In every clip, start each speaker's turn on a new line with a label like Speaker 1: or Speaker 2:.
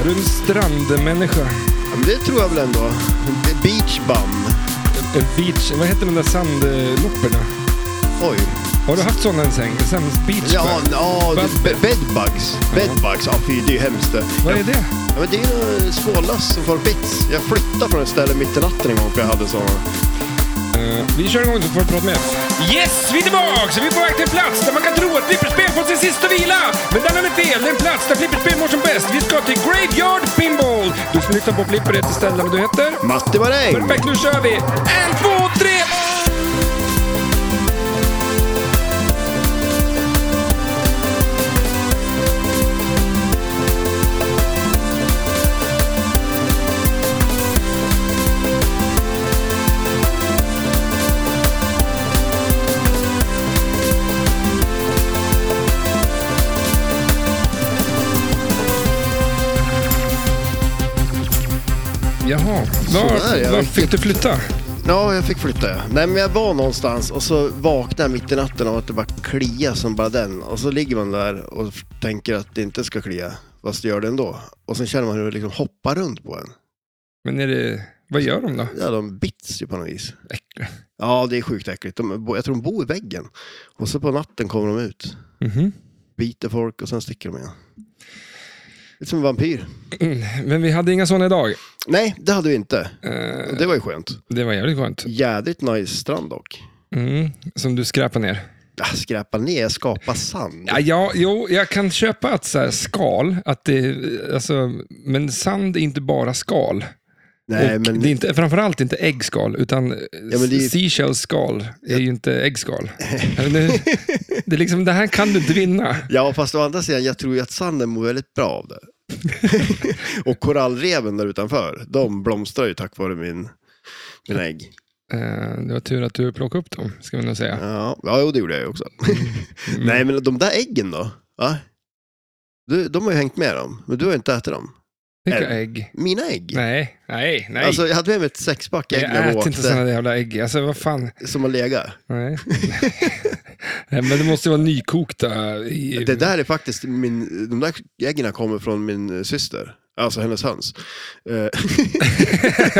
Speaker 1: Är du en strandmänniska?
Speaker 2: Ja, men det tror jag väl ändå. The beach bum.
Speaker 1: En beach... Vad heter de där sandlopperna?
Speaker 2: Oj.
Speaker 1: Har du haft sådana ens en gång? Sand beach
Speaker 2: Ja,
Speaker 1: bum?
Speaker 2: ja
Speaker 1: Bum.
Speaker 2: det- be- bedbugs. Bedbugs, ja fy det är ju hemskt det.
Speaker 1: Vad är det?
Speaker 2: Ja, men det är ju smålass som får bits. Jag flyttade från ett ställe mitt i natten en gång för jag hade sådana.
Speaker 1: Eh, vi kör igång så får du prata med. Yes, vi är tillbaks! Vi är på väg till en plats där man kan tro att flipperspel fått sin sista vila. Men den är det fel. Det är en plats där flipperspel mår som bäst. Vi ska till Graveyard Pinball. Du som lyssnar på Flipper heter Stellan och du heter?
Speaker 2: Matti Maräng!
Speaker 1: Perfekt, nu kör vi! En, två, tre! Jaha,
Speaker 2: Sådär,
Speaker 1: var,
Speaker 2: ja.
Speaker 1: var fick du flytta?
Speaker 2: Ja, jag fick flytta ja. Nej, men jag var någonstans och så vaknade jag mitt i natten av att det bara kliar som bara den. Och så ligger man där och f- tänker att det inte ska klia, fast det gör det ändå. Och sen känner man hur det liksom hoppar runt på en.
Speaker 1: Men är det... Vad gör de då?
Speaker 2: Ja, de bits ju på något vis.
Speaker 1: Äckliga.
Speaker 2: Mm. Ja, det är sjukt äckligt. De, bo- jag tror de bor i väggen. Och så på natten kommer de ut,
Speaker 1: Mhm.
Speaker 2: biter folk och sen sticker de igen. Lite som en vampyr.
Speaker 1: Mm, Men vi hade inga sådana idag.
Speaker 2: Nej, det hade vi inte.
Speaker 1: Eh,
Speaker 2: Och Det var ju skönt.
Speaker 1: det var jävligt skönt.
Speaker 2: Jädrigt nice strand dock.
Speaker 1: Mm, som du skräpar ner.
Speaker 2: Ah, Skräpa ner, skapa sand.
Speaker 1: Ja, ja, jo, jag kan köpa att så här, skal, att det, alltså, men sand är inte bara skal.
Speaker 2: Nej,
Speaker 1: och
Speaker 2: men
Speaker 1: Det är inte, framförallt inte äggskal, utan
Speaker 2: Ja, men det är-
Speaker 1: seashellskal är ju inte äggskal. Eller nu- det, är liksom, det här kan du inte vinna.
Speaker 2: Ja, fast å andra sidan, jag tror ju att sanden mår väldigt bra av det. och korallreven där utanför, de blomstrar ju tack vare min, min ägg.
Speaker 1: Eh, det var tur att du plockade upp dem, ska man nog säga.
Speaker 2: Ja, ja jo, det gjorde jag ju också.
Speaker 1: Mm.
Speaker 2: Nej, men de där äggen då? Va? Du, de har ju hängt med dem, men du har ju inte ätit dem.
Speaker 1: Vilka
Speaker 2: Eller-
Speaker 1: ägg?
Speaker 2: Mina ägg?
Speaker 1: Nej, nej, nej.
Speaker 2: eh, Alltså, jag hade med eh. mig ett sexpack ägg när
Speaker 1: jag
Speaker 2: jag
Speaker 1: äter inte
Speaker 2: åkte,
Speaker 1: sådana jävla ägg. Alltså, vad fan.
Speaker 2: som har legat.
Speaker 1: Nej. nej, men det måste ju vara nykokta. I,
Speaker 2: Det där är faktiskt min, de där äggen kommer från min eh, syster. Alltså hennes höns. Eh,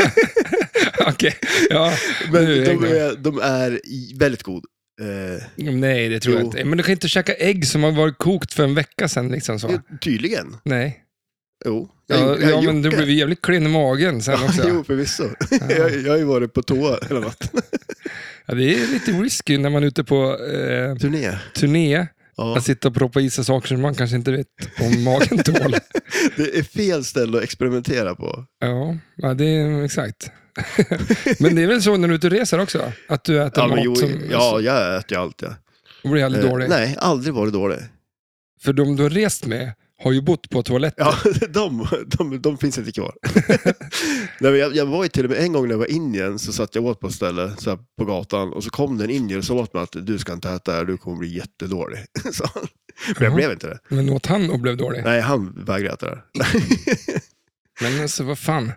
Speaker 1: Okej, ja.
Speaker 2: Men
Speaker 1: nu är jag
Speaker 2: de
Speaker 1: igång.
Speaker 2: är, de är i- väldigt god. Eh,
Speaker 1: Nej, det tror jag
Speaker 2: Jo.
Speaker 1: inte. Men du kan inte käka ägg som har varit kokt för en vecka sedan. Liksom så.
Speaker 2: Jo, Tydligen.
Speaker 1: Nej.
Speaker 2: Jo. Jag har
Speaker 1: Ja,
Speaker 2: gjort- jag har
Speaker 1: ja,
Speaker 2: gjort
Speaker 1: men du
Speaker 2: det.
Speaker 1: blev jävligt klen i magen sen också.
Speaker 2: Jo, förvisso. jag, jag har ju varit på toa eller något.
Speaker 1: Ja, det är lite risky när man är ute på eh,
Speaker 2: Turné.
Speaker 1: turné.
Speaker 2: Ja.
Speaker 1: Att sitta och proppa i sig saker som man kanske inte vet om magen tål.
Speaker 2: Det är fel ställe att experimentera på.
Speaker 1: Ja, ja det är exakt. men det är väl så när du är ute och reser också? Att du äter
Speaker 2: Ja,
Speaker 1: mat
Speaker 2: men jo,
Speaker 1: som
Speaker 2: ja, jag äter ju allt. Ja.
Speaker 1: och blir aldrig
Speaker 2: Eh,
Speaker 1: dålig?
Speaker 2: nej, aldrig varit dålig.
Speaker 1: För de du har rest med har ju bott på toalett.
Speaker 2: Ja, de, de, de finns inte kvar. nej, men jag, jag var ju till och med en gång när jag var i Indien så satt jag åt på ett ställe så här, på gatan och så kom den indier och sa åt mig att du ska inte äta det här, du kommer bli jättedålig. Så, men jag
Speaker 1: Jaha.
Speaker 2: blev inte det.
Speaker 1: Men åt han och blev dålig?
Speaker 2: Nej, han vägrade äta det.
Speaker 1: Men alltså vad fan,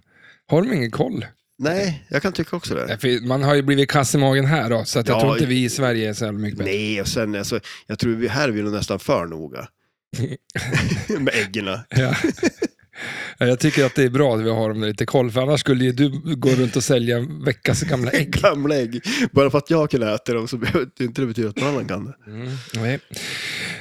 Speaker 1: har de ingen koll?
Speaker 2: Nej, jag kan tycka också det.
Speaker 1: Nej, för Man har ju blivit kass i magen här då, så att jag
Speaker 2: Ja,
Speaker 1: tror inte vi i Sverige är så jävla mycket bättre.
Speaker 2: Nej, och sen alltså, jag tror vi här är vi nog nästan för noga. Med äggen.
Speaker 1: Ja. Ja, Jag tycker att det är bra att vi har dem där lite koll, för annars skulle ju du gå runt och sälja en veckas gamla ägg.
Speaker 2: Gamla ägg. Bara för att jag kan äta dem så behöver det inte det betyda att någon annan kan det.
Speaker 1: Mm, nej.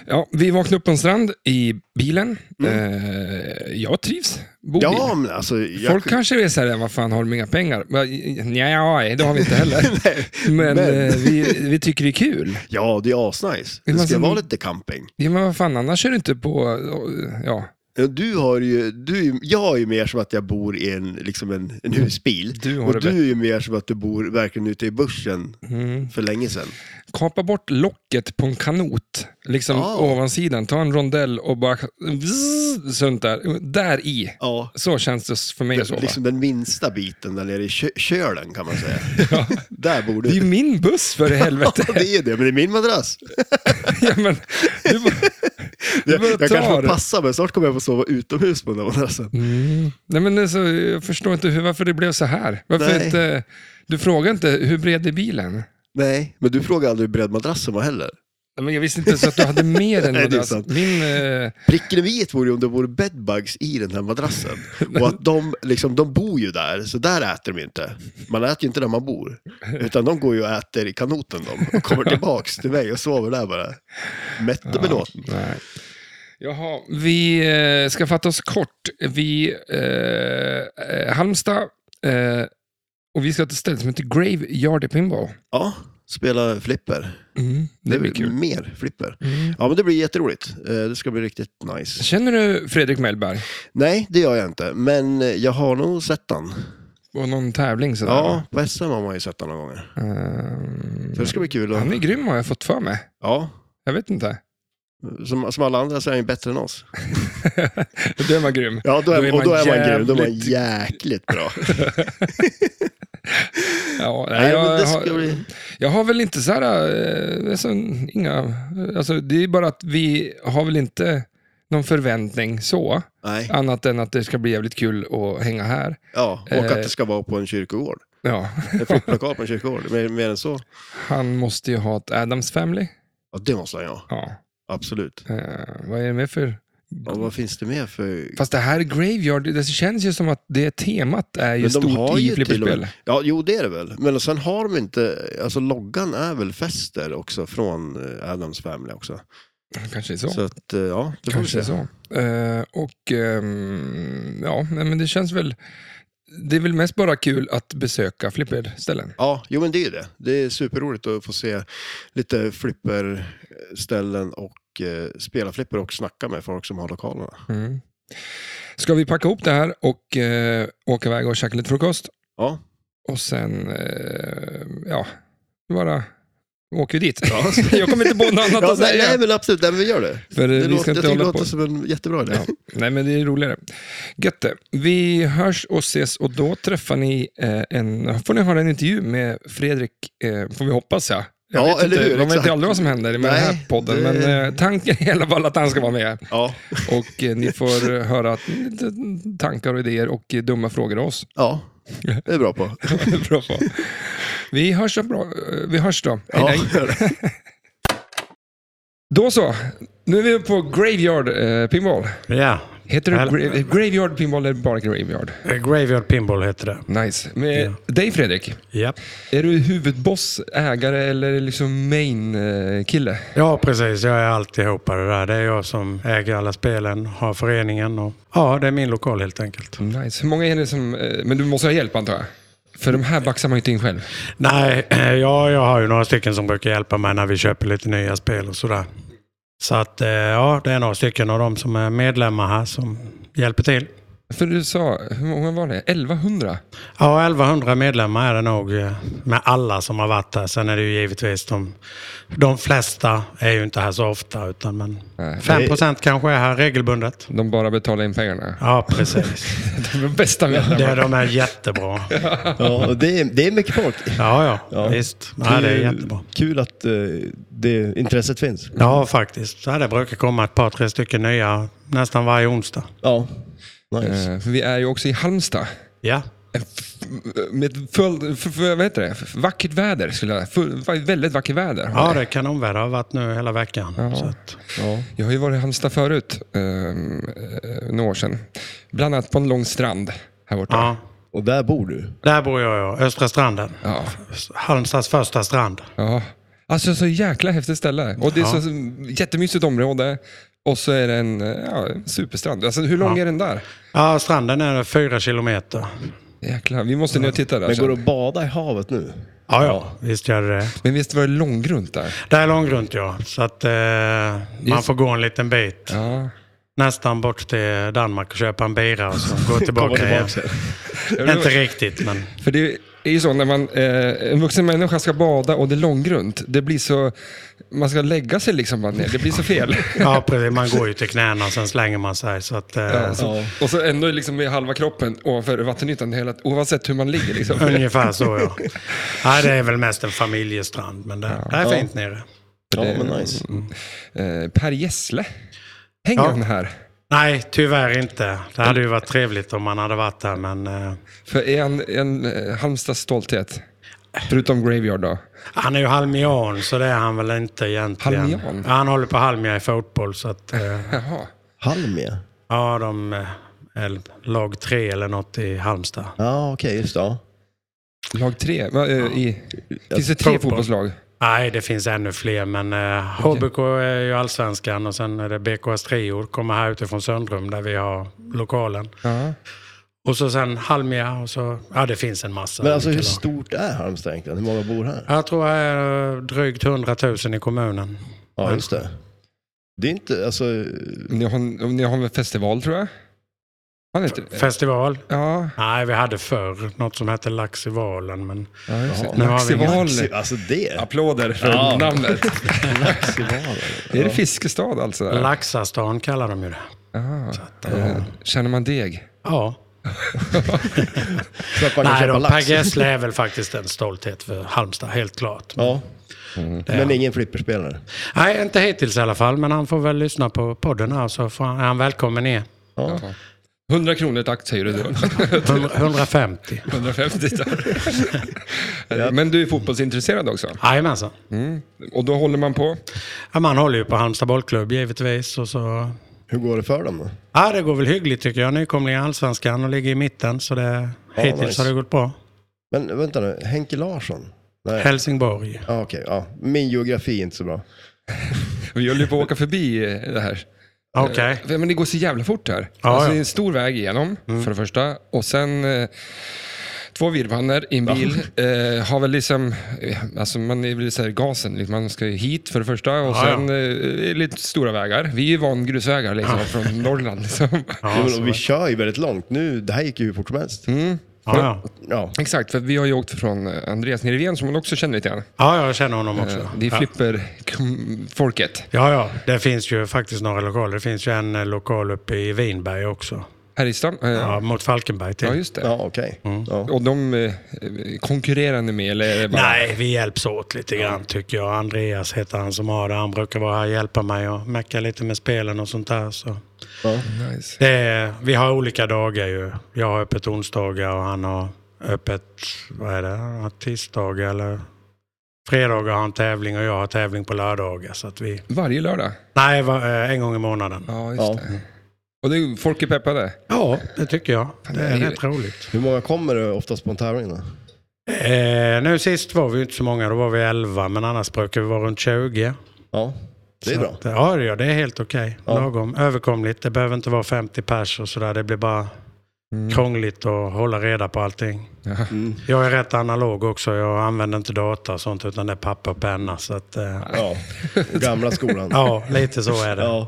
Speaker 1: Ja, vi vaknade upp på en strand i bilen. Eh, jag trivs. Bo i
Speaker 2: Mm. Ja,
Speaker 1: bil.
Speaker 2: men alltså... Jag,
Speaker 1: Folk kanske är så här, vad fan har de inga pengar? Nej, det har vi inte heller.
Speaker 2: Nej,
Speaker 1: Men,
Speaker 2: men-
Speaker 1: eh, vi, vi tycker det är kul.
Speaker 2: Ja, det är asnice. Det
Speaker 1: Men
Speaker 2: ska
Speaker 1: alltså-
Speaker 2: vara lite camping.
Speaker 1: Ja, men vad fan, annars är det inte på... eh, Ja,
Speaker 2: Du har ju, du, är ju- jag är ju mer som att jag bor i en, liksom en, en husbil.
Speaker 1: Du har det
Speaker 2: och du är ju mer som att du bor verkligen ute i bushen
Speaker 1: Mm.
Speaker 2: för länge sedan.
Speaker 1: kapa bort locket på en kanot, liksom
Speaker 2: Ah.
Speaker 1: ovansidan, ta en rondell och bara vzz, sånt där. Där i.
Speaker 2: Ja,
Speaker 1: Så känns det för mig att sova.
Speaker 2: liksom den minsta biten där nere i kö- kölen kan man säga.
Speaker 1: Ja.
Speaker 2: Där bor
Speaker 1: Det är ju
Speaker 2: du.
Speaker 1: min buss för i
Speaker 2: Ja,
Speaker 1: helvete.
Speaker 2: det är det, men det är min madrass.
Speaker 1: ja, men, du bara, du
Speaker 2: Jag,
Speaker 1: bara
Speaker 2: jag kanske
Speaker 1: tar.
Speaker 2: får passa mig, snart kommer jag få sova utomhus på den där madrassen.
Speaker 1: Mm. Nej, men alltså, jag förstår inte hur, varför det blev så här. Varför
Speaker 2: Nej.
Speaker 1: inte, du frågar inte hur bred är bilen?
Speaker 2: Nej, men du frågar aldrig hur bred madrassen var heller.
Speaker 1: Men jag visste inte ens att du hade med den.
Speaker 2: Nej, det är
Speaker 1: madrass.
Speaker 2: sant.
Speaker 1: Min, eh,
Speaker 2: Pricken över i vore ju om det vore bedbugs i den här madrassen. Och att de, liksom, de bor ju där, så där äter de ju inte. Man äter ju inte där man bor. Utan de går ju och äter i kanoten de. Och kommer tillbaks till mig och sover där bara. Mätt och belåten.
Speaker 1: nej. Jaha, vi eh, ska fatta oss kort. Vi, eh, eh, Halmstad, eh, och vi ska till ett ställe som heter Graveyard Pinball. Mm.
Speaker 2: Ja, spela flipper.
Speaker 1: Det blir kul. Mm.
Speaker 2: Mer flipper. Ja, men det blir jätteroligt. Eh, Det ska bli riktigt nice.
Speaker 1: Känner du Fredrik Mellberg?
Speaker 2: Nej, det gör jag inte. Men jag har nog sett den.
Speaker 1: På någon tävling sådär?
Speaker 2: Ja, på SM har man ju sett den några gånger.
Speaker 1: Ehm,
Speaker 2: Så det ska bli kul.
Speaker 1: han är
Speaker 2: Att...
Speaker 1: grym har jag fått för mig.
Speaker 2: Ja,
Speaker 1: Jag vet inte.
Speaker 2: som, som alla andra så är han ju bättre än oss.
Speaker 1: Då är man grym.
Speaker 2: Ja, då är,
Speaker 1: Då är
Speaker 2: och då
Speaker 1: man
Speaker 2: är man grym. Då är man
Speaker 1: jävligt-
Speaker 2: jäkligt bra.
Speaker 1: Ja, nej,
Speaker 2: Nej, men
Speaker 1: jag,
Speaker 2: det ska
Speaker 1: har,
Speaker 2: bli...
Speaker 1: jag har väl inte så här, eh, alltså, inga, alltså, det är bara att vi har väl inte någon förväntning så,
Speaker 2: Nej,
Speaker 1: annat än att det ska bli jävligt kul att hänga här.
Speaker 2: ja, och
Speaker 1: Eh.
Speaker 2: att det ska vara på en kyrkogård.
Speaker 1: Ja,
Speaker 2: En flipplokal på en kyrkogård. Mer, mer än så?
Speaker 1: han måste ju ha ett Adams Family.
Speaker 2: Ja, det måste han ju ha.
Speaker 1: Ja,
Speaker 2: Absolut.
Speaker 1: eh, vad är det med för...
Speaker 2: Ja, vad finns det mer för...
Speaker 1: Fast det här Graveyard, det känns ju som att det temat är ju
Speaker 2: Men de
Speaker 1: stort
Speaker 2: har
Speaker 1: i
Speaker 2: ju till och med-
Speaker 1: flipperspel.
Speaker 2: Ja, jo, det är det väl. Men sen har de inte... Alltså loggan är väl fester också från eh, Adams Family också.
Speaker 1: Kanske så.
Speaker 2: Så att, eh, ja, det får vi
Speaker 1: Kanske
Speaker 2: se.
Speaker 1: så. Eh, och ehm, ja, nej, men det känns väl... Det är väl mest bara kul att besöka flipperställen.
Speaker 2: Ja, jo men det är ju det. Det är superroligt att få se lite flipperställen och eh, spela flipper och snacka med folk som har lokalerna.
Speaker 1: Mm. Ska vi packa ihop det här och eh, åka iväg och käka lite frukost?
Speaker 2: Ja,
Speaker 1: Och sen, eh, ja, bara åker vi dit.
Speaker 2: Ja.
Speaker 1: Jag kommer inte på något annat
Speaker 2: ja
Speaker 1: att
Speaker 2: nej,
Speaker 1: säga.
Speaker 2: nej men absolut, nej, men vi gör det.
Speaker 1: För
Speaker 2: det
Speaker 1: vi
Speaker 2: låter,
Speaker 1: ska
Speaker 2: jag
Speaker 1: inte
Speaker 2: tycker det
Speaker 1: hålla på.
Speaker 2: låter som en jättebra idé.
Speaker 1: Ja. Nej, men det är roligare. Gött det. Vi hörs och ses och då träffar ni eh, en, får ni höra en intervju med Fredrik, eh, får vi hoppas ja. Jag
Speaker 2: Ja,
Speaker 1: vet
Speaker 2: eller
Speaker 1: inte,
Speaker 2: hur,
Speaker 1: man vet
Speaker 2: exakt.
Speaker 1: ju aldrig vad som händer med
Speaker 2: Nej,
Speaker 1: den här podden,
Speaker 2: det-
Speaker 1: men eh, tanken är i alla fall att han ska vara med.
Speaker 2: Ja.
Speaker 1: Och eh, ni får eh, höra att- lite tankar och idéer och eh, dumma frågor av oss.
Speaker 2: ja, det är bra på.
Speaker 1: Bra. Vi hörs, då bra. eh, vi hörs då. Hej,
Speaker 2: Ja,
Speaker 1: hej.
Speaker 2: gör det.
Speaker 1: Då så, nu är vi på Graveyard eh, Pinball.
Speaker 3: Ja,
Speaker 1: Heter det
Speaker 3: Här-
Speaker 1: gra- eh, Graveyard Pinball eller bara Graveyard?
Speaker 3: eh, Graveyard Pinball heter det.
Speaker 1: Nice. Med dig Fredrik,
Speaker 3: Ja,
Speaker 1: är du huvudboss, ägare eller liksom main eh, kille?
Speaker 3: ja precis. Jag är alltihopa det där. Det är jag som äger alla spelen, har föreningen och ja, det är min lokal helt enkelt.
Speaker 1: Nice. Hur många är det som... eh, Men du måste ha hjälp antar jag? För de här baxar man ju inte in själv.
Speaker 3: Nej, eh, ja, jag har ju några stycken som brukar hjälpa mig när vi köper lite nya spel och sådär. Så att eh, ja, det är några stycken av dem som är medlemmar här som hjälper till.
Speaker 1: För du sa, hur många var det? 1100?
Speaker 3: Ja, 1100 medlemmar är det nog eh, med alla som har varit här. Sen är det ju givetvis de, de flesta är ju inte här så ofta utan men
Speaker 1: Nej.
Speaker 3: 5 kanske är här regelbundet.
Speaker 1: De bara betalar in pengarna.
Speaker 3: Ja, precis.
Speaker 1: De är de bästa
Speaker 3: Det,
Speaker 1: medlemmarna.
Speaker 3: är- de är jättebra.
Speaker 4: Ja, och det, är, det är mycket folk.
Speaker 3: Ja, ja,
Speaker 4: Ja.
Speaker 3: visst. Ja, det är
Speaker 4: ju
Speaker 3: jättebra.
Speaker 4: Kul att eh, det intresset finns.
Speaker 3: Ja, faktiskt. Ja, det brukar komma ett par, tre stycken nya nästan varje onsdag.
Speaker 4: Ja, nice.
Speaker 1: Eh, För vi är ju också i Halmstad.
Speaker 3: Ja,
Speaker 1: F- Med full, f- f- vad heter det? F- Vackert väder skulle jag full, va- Väldigt vackert väder.
Speaker 3: ja det är kanonväder. Det har varit nu hela veckan. Så att,
Speaker 4: Ja.
Speaker 1: Jag har ju varit i Halmstad förut, eh, eh, några år sedan. Bland annat på en lång strand här borta.
Speaker 3: ja.
Speaker 4: Och där bor du?
Speaker 3: Där bor jag, ja. Östra stranden.
Speaker 1: Ja.
Speaker 3: Halmstads första strand.
Speaker 1: Ja. Alltså så jäkla häftigt ställe. Och det är
Speaker 3: Ja.
Speaker 1: så jättemysigt område. Och så är det en eh, ja, superstrand. Alltså hur lång
Speaker 3: Ja.
Speaker 1: är den där?
Speaker 3: Ja, stranden är fyra kilometer.
Speaker 1: Jäklar, vi måste ner och titta där.
Speaker 4: Men
Speaker 1: sen.
Speaker 4: går du och badar i havet nu?
Speaker 3: Ja, ja. Visst gör det det.
Speaker 1: Men visst var det långgrunt där?
Speaker 3: Det är långgrunt, ja. Så att eh, man
Speaker 1: Just-
Speaker 3: får gå en liten bit.
Speaker 1: Ja.
Speaker 3: Nästan bort till Danmark och köpa en bira och så gå tillbaka,
Speaker 4: tillbaka
Speaker 3: igen. Inte riktigt, men...
Speaker 1: För det är ju så när man, eh, en vuxen människa ska bada och det är långgrunt. Det blir så, man ska lägga sig liksom bara ner. Det blir så fel.
Speaker 3: Ja, precis. Man går ju till knäna och sen slänger man sig. Så att, eh,
Speaker 1: Ja,
Speaker 3: så,
Speaker 1: så, Alltså, och så ändå liksom med halva kroppen ovanför vattenytan, hela, oavsett hur man ligger. Liksom.
Speaker 3: Ungefär så, ja. Nej, det är väl mest en familjestrand, men det, det är
Speaker 4: Ja.
Speaker 3: fint nere.
Speaker 4: Ja,
Speaker 1: det-
Speaker 4: men nice.
Speaker 1: Eh, per Gessle, hänger
Speaker 3: Ja.
Speaker 1: han här?
Speaker 3: Nej, tyvärr inte. Det hade ju varit trevligt om man hade varit där, men... eh,
Speaker 1: För är han en eh, Halmstads stolthet? Förutom Graveyard då.
Speaker 3: Han är ju halmian, så det är han väl inte egentligen.
Speaker 1: Halmian?
Speaker 3: Ja, han håller på Halmia i fotboll, så att... Eh,
Speaker 1: Jaha.
Speaker 5: Halmia?
Speaker 3: ja, de eh, är lag tre eller något i Halmstad.
Speaker 5: Ja, okej, just det. Ja.
Speaker 1: Lag tre? Va, eh, i, finns det tre
Speaker 3: Fotboll.
Speaker 1: fotbollslag?
Speaker 3: Nej, det finns ännu fler, men eh, HBK är ju allsvenskan och sen är det BKS Treor, kommer här utifrån Söndrum där vi har lokalen.
Speaker 1: Ja.
Speaker 3: Och så sen Halmia och så, ja det finns en massa.
Speaker 5: Men alltså hur
Speaker 3: olika lag.
Speaker 5: stort är Halmstad egentligen? Hur många bor här?
Speaker 3: Jag tror det är eh, drygt 100 000 i kommunen.
Speaker 5: Ja, just det. Det är inte, alltså... eh,
Speaker 1: Ni har, ni har en festival tror jag? Har ni inte
Speaker 5: Eh.
Speaker 1: det?
Speaker 3: Festival?
Speaker 1: Ja.
Speaker 3: Nej, vi hade förr något som hette Laxivalen, men
Speaker 1: ja just
Speaker 5: Jaha.
Speaker 1: det.
Speaker 3: Nu har vi
Speaker 1: Maxival.
Speaker 5: Maxi- Alltså det?
Speaker 1: Applåder för
Speaker 5: Ja.
Speaker 1: namnet.
Speaker 5: Maxivalen.
Speaker 1: Är det fiskestad alltså?
Speaker 3: Laxastan kallar de ju det.
Speaker 1: Jaha. Eh, Känner man deg?
Speaker 3: Ja.
Speaker 5: Så att man kan
Speaker 3: Nej,
Speaker 5: köpa
Speaker 3: då, Per
Speaker 5: lax.
Speaker 3: Gessle är väl faktiskt en stolthet för Halmstad, helt klart.
Speaker 5: Ja.
Speaker 3: är han.
Speaker 5: Mm. Men ingen flipperspelare?
Speaker 3: Nej, inte hittills i alla fall, men han får väl lyssna på podden här så får han, är han välkommen ner.
Speaker 5: Ja.
Speaker 1: 100 kronor ett akt säger du då.
Speaker 3: 100 150.
Speaker 1: 150 där. Eh, Men du är fotbollsintresserad också?
Speaker 3: Jajamensan.
Speaker 1: Mm. Och då håller man på?
Speaker 3: Ja, man håller ju på Halmstad bollklubb givetvis. Och så...
Speaker 5: Hur går det för dem då?
Speaker 3: ja, det går väl hyggligt tycker jag. Nykomling i Allsvenskan och ligger i mitten, så det...
Speaker 5: Ja,
Speaker 3: hittills
Speaker 5: nice.
Speaker 3: har det gått bra.
Speaker 5: Men vänta nu, Henke Larsson? Nej.
Speaker 3: Helsingborg.
Speaker 5: Ja, okej. ja. Min geografi är inte så bra.
Speaker 1: Vi håller ju på att åka förbi eh, det här.
Speaker 3: Okej.
Speaker 1: Eh, Men det går så jävla fort här.
Speaker 3: Ja, Mm.
Speaker 1: alltså, Det
Speaker 3: ja.
Speaker 1: är en stor väg igenom, för det första. Och sen eh, två virrpannor i en bil. Eh, har väl liksom, eh, alltså man är väl så här gasen, liksom, man ska ju hit för det första. Och
Speaker 3: Ja,
Speaker 1: sen eh, är lite stora vägar. Vi är ju van grusvägar liksom, från Norrland. Liksom.
Speaker 3: Ja,
Speaker 5: Jo,
Speaker 3: så- Mm.
Speaker 5: men, vi kör ju väldigt långt. Nu, det här gick ju hur fort som helst.
Speaker 3: ja, ja.
Speaker 5: Ja.
Speaker 1: Exakt, för vi har ju åkt från eh, Andreas Nirvén som man också känner lite grann.
Speaker 3: ja, jag känner honom också.
Speaker 1: Eh, Det är
Speaker 3: ja.
Speaker 1: flipper-folket.
Speaker 3: ja, ja. Det finns ju faktiskt några lokaler. Det finns ju en eh, lokal uppe i Vinberg också.
Speaker 1: Här i stan. eh,
Speaker 3: Ja, mot Falkenberg
Speaker 1: Ja,
Speaker 3: till.
Speaker 1: just det.
Speaker 5: Ja, okej.
Speaker 3: Mm.
Speaker 5: Ja.
Speaker 1: Och de eh, konkurrerar ni med eller? är det Bara...
Speaker 3: Nej, vi hjälps åt lite grann tycker jag. Andreas heter han som har det. Han brukar vara här och hjälpa mig och mecka lite med spelen och sånt där. Så.
Speaker 1: Nice.
Speaker 3: Det är, vi har olika dagar ju. Jag har öppet onsdagar och han har öppet, vad är det, Han har tisdagar eller fredagar har han tävling och jag har tävling på lördagar. Så att vi,
Speaker 1: Varje lördag?
Speaker 3: nej, va- eh, en gång i månaden.
Speaker 1: Ja, just
Speaker 5: Ja.
Speaker 1: det. Och det är, ju- folk är peppade?
Speaker 3: Ja, det tycker jag. Det
Speaker 1: det är
Speaker 3: är
Speaker 1: ju-
Speaker 3: rätt roligt.
Speaker 5: Hur många kommer det oftast på en tävling då?
Speaker 3: Eh, nu sist var vi ju inte så många, då var vi 11, men annars brukar vi vara runt 20.
Speaker 5: Ja, det är
Speaker 3: Så
Speaker 5: bra.
Speaker 3: Att, ja, det, gör det. det är helt okej.
Speaker 5: Ja.
Speaker 3: Lagom. Överkomligt. Det behöver inte vara 50 pers och sådär. Det blir bara krångligt att hålla reda på allting.
Speaker 5: Mm.
Speaker 3: Jag är rätt analog också. Jag använder inte data och sånt, utan det är papper och penna. Så att, eh,
Speaker 5: Ja, gamla skolan.
Speaker 3: ja, lite så är det.
Speaker 5: Ja.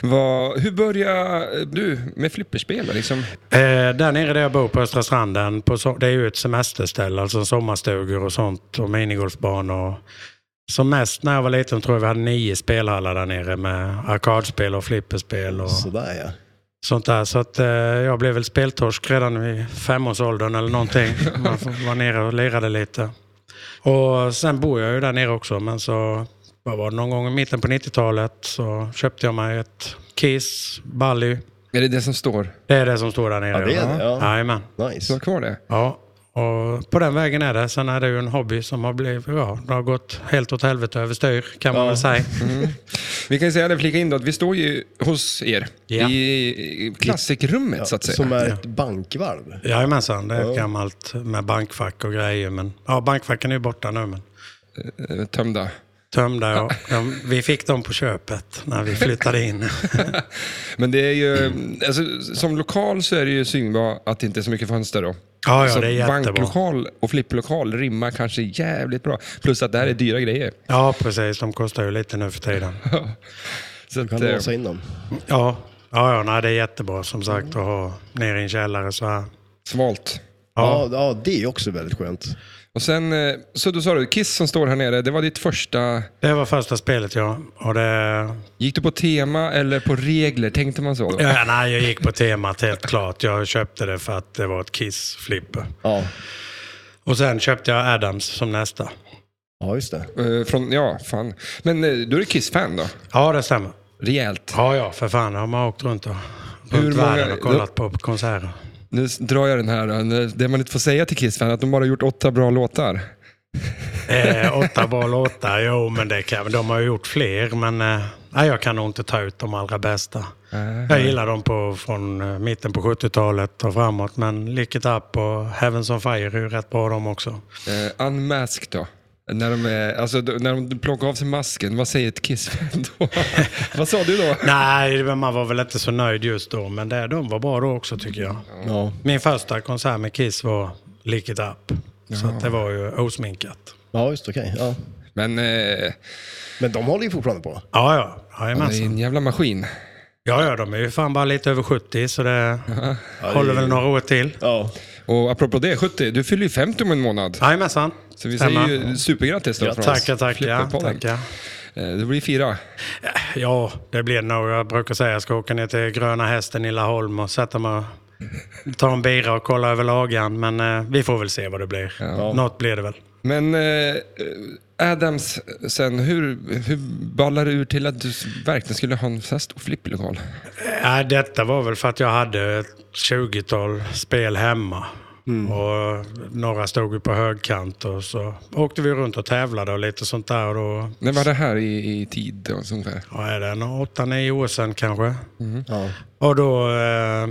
Speaker 1: Vad, hur började du med flipperspel? då, Liksom?
Speaker 3: Eh, där nere där jag bor på Östra stranden, på so- det är ju ett semesterställe, alltså sommarstugor och sånt och minigolfbanor. Som mest när jag var liten tror jag vi hade nio spelhallar där nere med arkadspel och flipperspel. Och...
Speaker 5: Sådär ja.
Speaker 3: sånt där. Så att, eh, jag blev väl speltorsk redan vid femårsåldern eller någonting. Man f- var nere och lirade lite. Och sen bor jag ju där nere också, men så vad var det, någon gång i mitten på 90-talet så köpte jag mig ett Kiss, Bally.
Speaker 1: Är det det som står?
Speaker 3: Det är det som står där nere.
Speaker 5: Ja, det är det, ja.
Speaker 3: Jajamän.
Speaker 1: Du har
Speaker 5: Nice.
Speaker 1: kvar det?
Speaker 3: Ja, och på den vägen är det. Sen är det ju en hobby som har blivit, ja, det har gått helt åt helvete överstyr kan man
Speaker 5: Ja.
Speaker 3: väl säga.
Speaker 1: Vi kan ju säga det, flika in då, att vi står ju hos er
Speaker 3: Ja.
Speaker 1: i, i klassikrummet så att säga.
Speaker 5: Som är ett bankvalv.
Speaker 3: Jajamensan, det är
Speaker 5: Ja.
Speaker 3: gammalt med bankfack och grejer. Men, ja, bankfacken är ju borta nu. Men.
Speaker 1: Eh, Tömda.
Speaker 3: Tömda, ja. De, vi fick dem på köpet när vi flyttade in.
Speaker 1: Men det är ju, alltså, som lokal så är det ju synbart att det inte är så mycket fönster då.
Speaker 3: Ja, ja,
Speaker 1: Så
Speaker 3: det är jättebra.
Speaker 1: Alltså Banklokal och flipplokal rimmar kanske jävligt bra. Plus att det här är dyra grejer.
Speaker 3: Ja, precis. De kostar ju lite nu för tiden.
Speaker 1: Så
Speaker 5: Du kan
Speaker 1: att, eh,
Speaker 5: låsa in dem.
Speaker 3: Ja, ja, ja nej, det är jättebra som sagt att ha nere i en källare så här.
Speaker 1: svalt.
Speaker 5: Ja. Ja, det är också väldigt skönt.
Speaker 1: Och sen, eh, så då sa du, Kiss som står här nere, det var ditt första...
Speaker 3: Det var första spelet, ja. Och det,
Speaker 1: Gick du på tema eller på regler? Tänkte man så? Då?
Speaker 3: ja nej, jag gick på temat helt klart. Jag köpte det för att det var ett Kiss-flipper.
Speaker 5: Ja,
Speaker 3: Och sen köpte jag Adams som nästa.
Speaker 5: ja just det.
Speaker 1: Eh, Från, ja, fan. Men eh, då är du Kiss-fan då?
Speaker 3: Ja, det stämmer.
Speaker 1: Rejält.
Speaker 3: Ja, ja, för fan. Har man åkt runt och
Speaker 1: Hur
Speaker 3: runt
Speaker 1: många-
Speaker 3: världen och kollat på konserter.
Speaker 1: Nu s- drar jag den här, eh, det man inte får säga till Kiss-fan, att de bara har gjort åtta bra låtar.
Speaker 3: Eh, åtta bra låtar, jo men det kan, de har ju gjort fler men eh, nej, jag kan nog inte ta ut de allra bästa. Jag gillar dem på, från eh, mitten på 70-talet och framåt men Lick It Up och Heavens on Fire är ju rätt bra de också.
Speaker 1: Uh, unmask då? När de, är, alltså, då- när de plockar av sig masken, vad säger ett Kiss-fan då? vad sa du då?
Speaker 3: Nej, det- man var väl inte så nöjd just då men det, de var bra då också tycker jag.
Speaker 2: Ja,
Speaker 3: Min första konsert med Kiss var Lick It Up. Så att det var ju osminkat.
Speaker 2: ja just okej. Ja.
Speaker 1: Men eh,
Speaker 2: Men de håller ju fortfarande på.
Speaker 3: Ja, ja.
Speaker 1: han är
Speaker 3: Jajamensan.
Speaker 1: en jävla maskin.
Speaker 3: Ja, ja, de är ju fan bara lite över 70 så det håller väl några år till.
Speaker 2: Ja,
Speaker 1: Och apropå det, 70, du fyller ju 50 om en månad.
Speaker 3: Jajamensan.
Speaker 1: Så vi
Speaker 3: Stämmer.
Speaker 1: säger ju supergrattis då från oss.
Speaker 3: Tackar, tackar.
Speaker 1: Flipperpodden.
Speaker 3: tackar.
Speaker 1: Eh, Det blir fyra.
Speaker 3: Ja, det blir nog. Jag brukar säga att jag ska åka ner till Gröna Hästen i Laholm och sätta mig och ta en bira och kolla över lagan. Men eh, vi får väl se vad det blir. Något blir det väl.
Speaker 1: Men eh, Adams, sen hur, hur ballar det ur till att du verkligen skulle ha en så här stor flipplokal?
Speaker 3: Nej, Äh, detta var väl för att jag hade ett 20-tal spel hemma.
Speaker 1: Mm.
Speaker 3: Och några stod ju på högkant och så åkte vi runt och tävlade och lite sånt där. Och då,
Speaker 1: När var det här i, i tid? då, så ungefär?
Speaker 3: vad är det, 8-9 år sedan kanske.
Speaker 2: ja.
Speaker 3: Och då eh,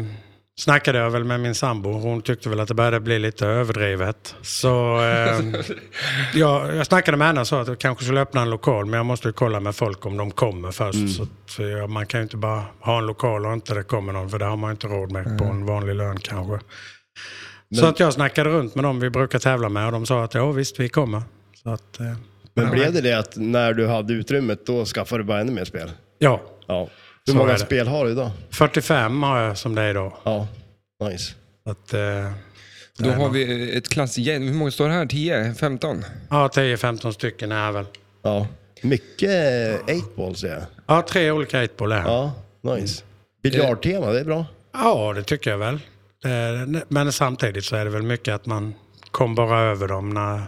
Speaker 3: snackade jag väl med min sambo. Hon tyckte väl att det började bli lite överdrivet. Så eh, jag, jag snackade med henne och sa att jag kanske skulle öppna en lokal. Men jag måste ju kolla med folk om de kommer först.
Speaker 1: Mm.
Speaker 3: Så, att, för jag- man kan ju inte bara ha en lokal och inte det kommer någon. För det har man ju inte råd med på en vanlig lön kanske. Så att jag snackade runt med dem vi brukar tävla med och de sa att ja visst vi kommer. Så att, eh,
Speaker 2: Men blev det det att när du hade utrymmet då skaffade du bara ännu mer spel?
Speaker 3: ja,
Speaker 2: Ja. Hur
Speaker 3: Så är
Speaker 2: många
Speaker 3: det.
Speaker 2: spel har du idag?
Speaker 3: 45 har jag som det är idag.
Speaker 2: Ja, nice.
Speaker 3: Så Att, eh,
Speaker 1: Då har vi ett klassgäng. Hur många står det här? 10? 15?
Speaker 3: ja, 10-15 stycken är jag väl.
Speaker 2: Ja. Mycket 8-ball ser jag.
Speaker 3: Ja, tre olika 8-ball är ja.
Speaker 2: Ja, nice. Biljardtema, det är bra.
Speaker 3: ja, det tycker jag väl. Det, men samtidigt så är det väl mycket att man kom bara över dem när...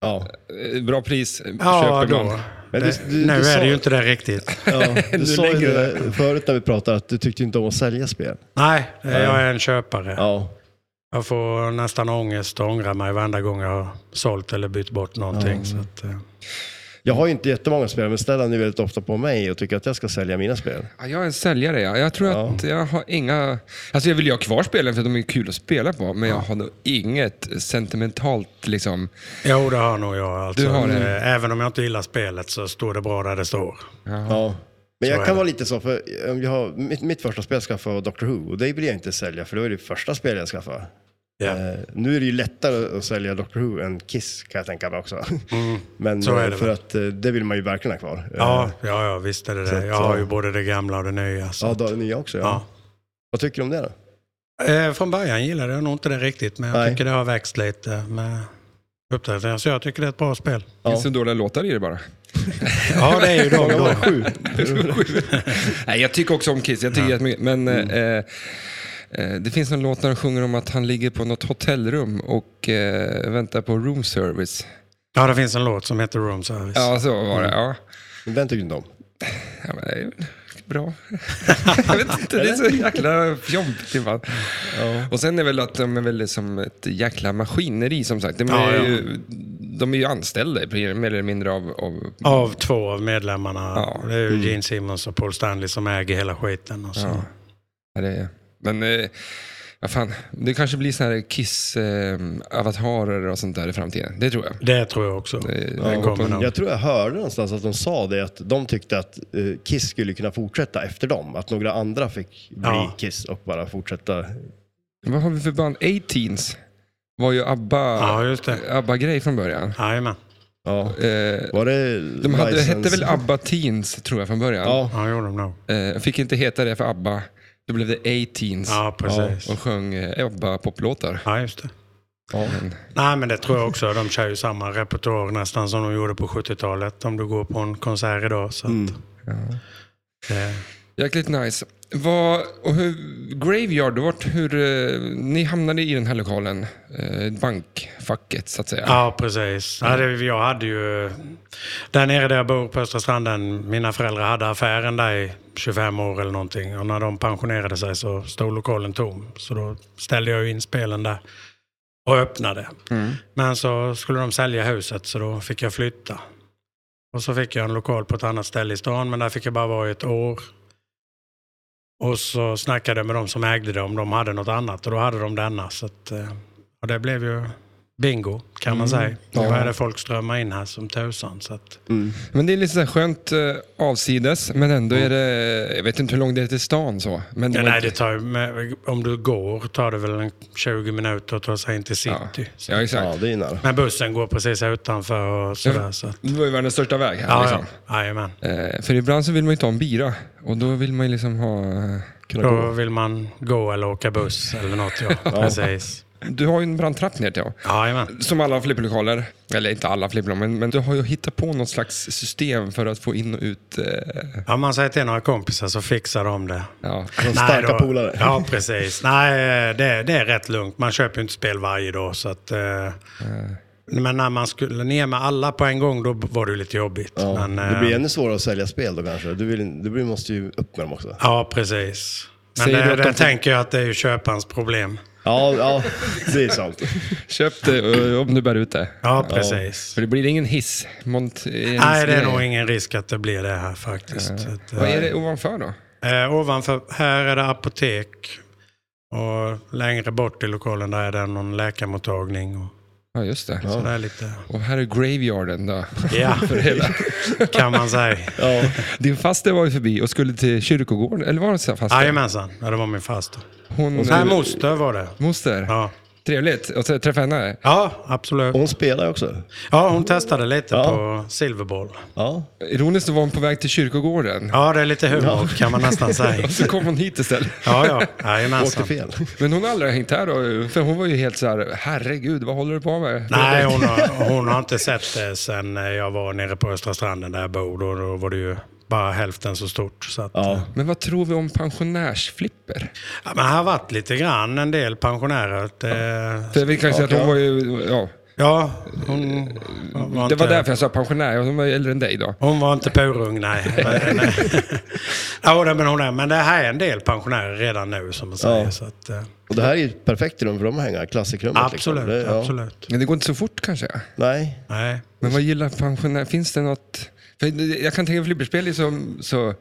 Speaker 2: Ja.
Speaker 1: Eh, Bra pris eh,
Speaker 3: Ja,
Speaker 1: köper
Speaker 3: då.
Speaker 1: man.
Speaker 2: Men
Speaker 3: Det,
Speaker 2: du- du-
Speaker 3: nu
Speaker 2: du
Speaker 3: är
Speaker 2: sa-
Speaker 3: det ju inte det riktigt.
Speaker 2: ja. Du sa ju
Speaker 3: lägger
Speaker 2: det förut när vi pratade att du tyckte inte om att sälja spel.
Speaker 3: Nej, jag är en köpare.
Speaker 2: Ja.
Speaker 3: Jag får nästan ångest och ångrar mig varenda gång jag har sålt eller bytt bort någonting. Så att, eh,
Speaker 2: Jag har ju inte jättemånga spel, men Stellan är väldigt ofta på mig och tycker att jag ska sälja mina spel.
Speaker 1: Ja, jag är en säljare. Ja. Jag tror att jag har inga... Alltså jag vill ju ha kvar spelen för de är ju kul att spela på. Men jag har nog inget sentimentalt liksom.
Speaker 3: jo, det har nog jag. Alltså.
Speaker 1: Du har det.
Speaker 3: Eh, Även om jag inte gillar spelet så står det bra där det står.
Speaker 2: Ja. Men
Speaker 3: Så
Speaker 2: jag
Speaker 3: är
Speaker 2: kan
Speaker 3: det.
Speaker 2: vara lite så, för om jag har, mitt, mitt första spel jag skaffade var Doctor Who och det vill jag inte sälja för det var det första spelet jag skaffade.
Speaker 3: Ja.
Speaker 2: Eh, nu är det ju lättare att sälja Doctor Who än Kiss kan jag tänka mig också.
Speaker 3: Mm.
Speaker 2: Men
Speaker 3: så är
Speaker 2: eh,
Speaker 3: det
Speaker 2: för
Speaker 3: väl.
Speaker 2: att eh, det vill man ju verkligen ha kvar.
Speaker 3: Ja,
Speaker 2: Eh,
Speaker 3: ja, ja, visst är det
Speaker 2: Så
Speaker 3: det.
Speaker 2: att,
Speaker 3: Jag har ju
Speaker 2: ja.
Speaker 3: både det gamla och det nya. Så.
Speaker 2: ja då är det nya också. Ja.
Speaker 3: Ja.
Speaker 2: Vad tycker du om det då?
Speaker 3: Eh, från början gillade jag nog inte det riktigt, men jag
Speaker 2: Nej.
Speaker 3: tycker det har växt lite med uppdateringar. Så jag tycker det är ett bra spel.
Speaker 1: Det
Speaker 2: Ja.
Speaker 1: finns så dåliga låtar i det bara.
Speaker 3: Ja, det är ju de då.
Speaker 2: Sju. Mm.
Speaker 1: Nej, jag tycker också om Kiss. Jag tycker jättemycket. Men eh, eh, det finns en låt där de sjunger om att han ligger på något hotellrum och eh, väntar på room service. Mm.
Speaker 3: Ja, det finns en låt som heter Room Service. Ja.
Speaker 1: Ja, så var det. Ja.
Speaker 2: Den tycker du inte om?
Speaker 1: Ja, men det är väl bra. jag vet inte, det är så jäkla fjompigt ibland. Och sen är väl att de är väl som ett jäkla maskineri som sagt. De är,
Speaker 3: Ja, ja.
Speaker 1: Ju, de är ju anställda mer eller mindre av... av
Speaker 3: Av två av medlemmarna.
Speaker 1: Ja.
Speaker 3: Det är ju Gene Simmons och Paul Stanley som äger hela skiten. Och så.
Speaker 1: Ja, det är, men eh, vad fan, det kanske blir så här Kiss-avatarer och sånt där i framtiden. Det tror jag.
Speaker 3: Det tror jag också.
Speaker 1: Det-
Speaker 3: Den kommer nog.
Speaker 2: Jag tror jag hörde någonstans att de sa det, att de tyckte att eh, Kiss skulle kunna fortsätta efter dem. Att några andra fick bli
Speaker 3: Ja.
Speaker 2: Kiss och bara fortsätta.
Speaker 1: Vad har vi för band? 18s var ju
Speaker 3: Ja,
Speaker 1: ABBA,
Speaker 3: just det.
Speaker 1: ABBA-grej från början.
Speaker 3: Jajamän.
Speaker 2: Ja.
Speaker 1: Eh,
Speaker 2: Var det
Speaker 1: de hade,
Speaker 2: License?
Speaker 1: hette väl ABBA Teens tror jag från början.
Speaker 2: Ja.
Speaker 3: Ja, det gjorde de nog.
Speaker 1: Eh, fick inte heta det för ABBA. Då blev det A-Teens.
Speaker 3: Ja, precis.
Speaker 1: Och sjöng eh, ABBA-poplåtar.
Speaker 3: Ja, just det.
Speaker 2: Ja.
Speaker 1: Men,
Speaker 3: Nej, men det tror jag också. De kör ju samma repertoar nästan som de gjorde på 70-talet. Om du går på en konsert idag. Så att, Eh,
Speaker 1: jäkligt nice. Vad, och hur, Graveyard, vart, hur, eh, ni hamnade i den här lokalen. Eh, bankfacket, så att säga.
Speaker 3: Ja, precis. Ja, det, jag hade ju... Där nere där jag bor på Östra stranden, mina föräldrar hade affären där i 25 år eller någonting. Och när de pensionerade sig så stod lokalen tom. Så då ställde jag ju in spelen där. och öppnade. Men så skulle de sälja huset så då fick jag flytta. Och så fick jag en lokal på ett annat ställe i stan men där fick jag bara vara i ett år. Och så snackade jag med de som ägde det om de hade något annat och då hade de denna. Så att, eh, och det blev ju bingo kan man säga. Då
Speaker 1: Mm. Ja.
Speaker 3: började folk strömma in här som tusan. Så att,
Speaker 5: Mm.
Speaker 1: Men det är lite så här skönt eh, avsides, men ändå är det... Jag vet inte hur långt det är till stan så. Men
Speaker 3: Ja,
Speaker 1: var
Speaker 3: nej,
Speaker 1: inte-
Speaker 3: det tar, ju- med- om du går tar det väl en 20 minuter att ta sig in till city. Så.
Speaker 1: Ja, exakt.
Speaker 5: Ja, det är ju nära.
Speaker 3: Men bussen går precis utanför och sådär. Så. att-
Speaker 1: Det var ju världens största väg här.
Speaker 3: Ja,
Speaker 1: liksom.
Speaker 3: ja. Jajamän.
Speaker 1: Eh, för ibland så vill man ju ta en bira och då vill man ju liksom ha... eh, Kunna
Speaker 3: Då
Speaker 1: gå.
Speaker 3: vill man gå eller åka buss eller något. Ja. Precis.
Speaker 1: Du har ju en brant trapp ner till. ja.
Speaker 3: Jajamän.
Speaker 1: Som alla flipplokaler, eller inte alla flipplokaler, men, men du har ju hittat på något slags system för att få in och ut... Eh,
Speaker 3: Om man säger till några kompisar så fixar de det.
Speaker 1: ja.
Speaker 5: starka
Speaker 3: då-
Speaker 5: polare.
Speaker 3: Ja, precis. Nej, eh, det, det är rätt lugnt. Man köper ju inte spel varje dag. Så att, eh, Men när man skulle ner med alla på en gång, då var det ju lite jobbigt.
Speaker 5: Ja.
Speaker 3: men,
Speaker 5: det blir
Speaker 3: eh,
Speaker 5: ännu svårare att sälja spel då kanske. Du, vill, du blir- måste ju upp med dem också.
Speaker 3: Ja, precis. Men
Speaker 1: Säger du
Speaker 3: det,
Speaker 1: att
Speaker 3: det
Speaker 1: de får-
Speaker 3: tänker jag att det är ju köparens problem.
Speaker 5: Ja, ja det är sant.
Speaker 1: Köp det eh, om du bär ut det.
Speaker 3: Ja, precis.
Speaker 1: För det blir ingen hiss. Mont, eh,
Speaker 3: Nej, det är
Speaker 1: grej.
Speaker 3: nog ingen risk att det blir det här faktiskt. Så att,
Speaker 1: Vad är det ovanför då?
Speaker 3: eh, ovanför, här är det apotek. Och längre bort i lokalen där är det någon läkarmottagning. Och,
Speaker 1: Ja, just det.
Speaker 3: Så det är lite,
Speaker 1: Och här är graveyarden då.
Speaker 3: ja, kan man säga.
Speaker 5: Ja.
Speaker 1: Din faster var ju förbi och skulle till kyrkogården, eller var det så här faster?
Speaker 3: Jajamensan, ja, det var min faster.
Speaker 1: Hon,
Speaker 3: Nej, moster var det.
Speaker 1: Moster.
Speaker 3: Ja.
Speaker 1: Trevligt att trä- träffa henne.
Speaker 3: ja, absolut.
Speaker 5: Och hon spelar ju också.
Speaker 3: Ja, hon testade lite
Speaker 5: Ja.
Speaker 3: på silverboll.
Speaker 5: Ja.
Speaker 1: Ironiskt var hon på väg till kyrkogården.
Speaker 3: Ja, det är lite humor kan man nästan säga.
Speaker 1: Och så kom hon hit istället.
Speaker 3: Ja, ja. Jajamensan.
Speaker 5: Åkte fel.
Speaker 1: Men hon har aldrig hängt här då? För hon var ju helt så här, herregud, vad håller du på med?
Speaker 3: Nej, hon har, hon har inte sett det sen jag var nere på Östra stranden där jag bor. Då, då var det ju bara hälften så stort. Så att,
Speaker 5: Ja.
Speaker 1: Men vad tror vi om pensionärsflipper?
Speaker 3: ja, men här har varit lite grann en del pensionärer. Det,
Speaker 1: För vi kan ju säga att hon
Speaker 5: ja.
Speaker 1: var ju, ja.
Speaker 3: ja, hon var
Speaker 1: Det var
Speaker 3: inte,
Speaker 1: därför jag sa pensionär, hon var ju äldre än dig då.
Speaker 3: hon var inte purung, nej. Men, ja, det- men, hon är, men det här är en del pensionärer redan nu som man säger.
Speaker 5: Ja.
Speaker 3: Så att, eh,
Speaker 5: Och det här är ju ett perfekt rum för dem att hänga. Klassikrummet.
Speaker 3: absolut,
Speaker 5: Liksom. Det, ja.
Speaker 3: absolut.
Speaker 1: Men det går inte så fort kanske?
Speaker 5: Nej.
Speaker 3: Nej.
Speaker 1: Men vad gillar pensionärer? Finns det något? För det- jag kan tänka flipperspel är som så...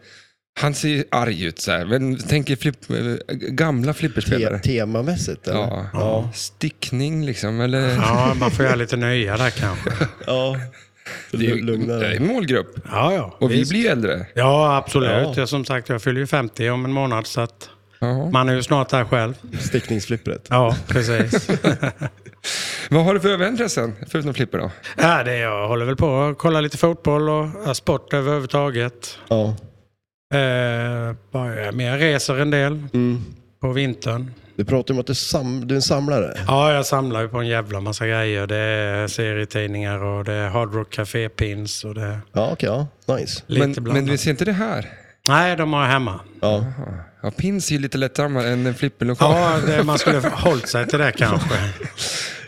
Speaker 1: Han ser ju arg ut så här. Men tänker flipp, eh, gamla
Speaker 5: Te
Speaker 1: flipperspelare.
Speaker 5: temamässigt eller?
Speaker 1: Ja. Stickning liksom, eller?
Speaker 3: Ja, man får göra lite nya där kanske.
Speaker 5: ja.
Speaker 1: det är ju- det är
Speaker 5: Lugnare.
Speaker 1: en målgrupp.
Speaker 3: Ja, ja.
Speaker 1: Och vi
Speaker 3: visst.
Speaker 1: blir ju äldre.
Speaker 3: Ja, absolut.
Speaker 5: Ja.
Speaker 3: Jag, som sagt, jag fyller ju 50 om en månad så att
Speaker 1: Ja.
Speaker 3: man är ju snart där själv.
Speaker 5: Stickningsflippret.
Speaker 3: Ja, precis.
Speaker 1: Vad har du för övriga intressen? Förutom flipper då?
Speaker 3: ja, det är jag håller väl på och kollar lite fotboll och ja, sport överhuvudtaget.
Speaker 5: Ja.
Speaker 3: Eh, vad är jag mer? Jag reser en del
Speaker 5: Mm.
Speaker 3: på vintern.
Speaker 5: Du pratar om att du, sam- du är en samlare.
Speaker 3: Ja, jag samlar ju på en jävla massa grejer. Det är serietidningar och det är Hard Rock Café Pins och det är
Speaker 5: Ja, okej. ja. Nice.
Speaker 3: lite
Speaker 1: men,
Speaker 3: blandat.
Speaker 1: men vi ser inte det här.
Speaker 3: Nej, de har jag hemma.
Speaker 5: Ja.
Speaker 1: Ja, pins är ju lite lättare än en flipperlokal.
Speaker 3: Ja, det, man skulle ha hållit sig till det kanske.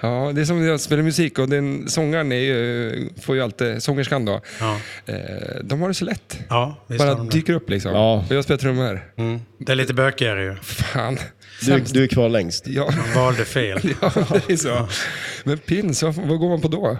Speaker 1: Ja, det är som när jag spelar musik och den sångaren är ju, får ju alltid, sångerskan då,
Speaker 3: Ja,
Speaker 1: eh, de har det så lätt.
Speaker 3: ja visst har
Speaker 1: Bara
Speaker 3: de det.
Speaker 1: dyker upp liksom.
Speaker 5: Ja.
Speaker 1: Och jag spelar trummor.
Speaker 3: Mm. Det är lite bökigare ju.
Speaker 1: Fan.
Speaker 5: Du, du är kvar längst.
Speaker 1: Ja,
Speaker 3: Man valde fel.
Speaker 1: ja, det är så. Men pins, vad, vad går man på då?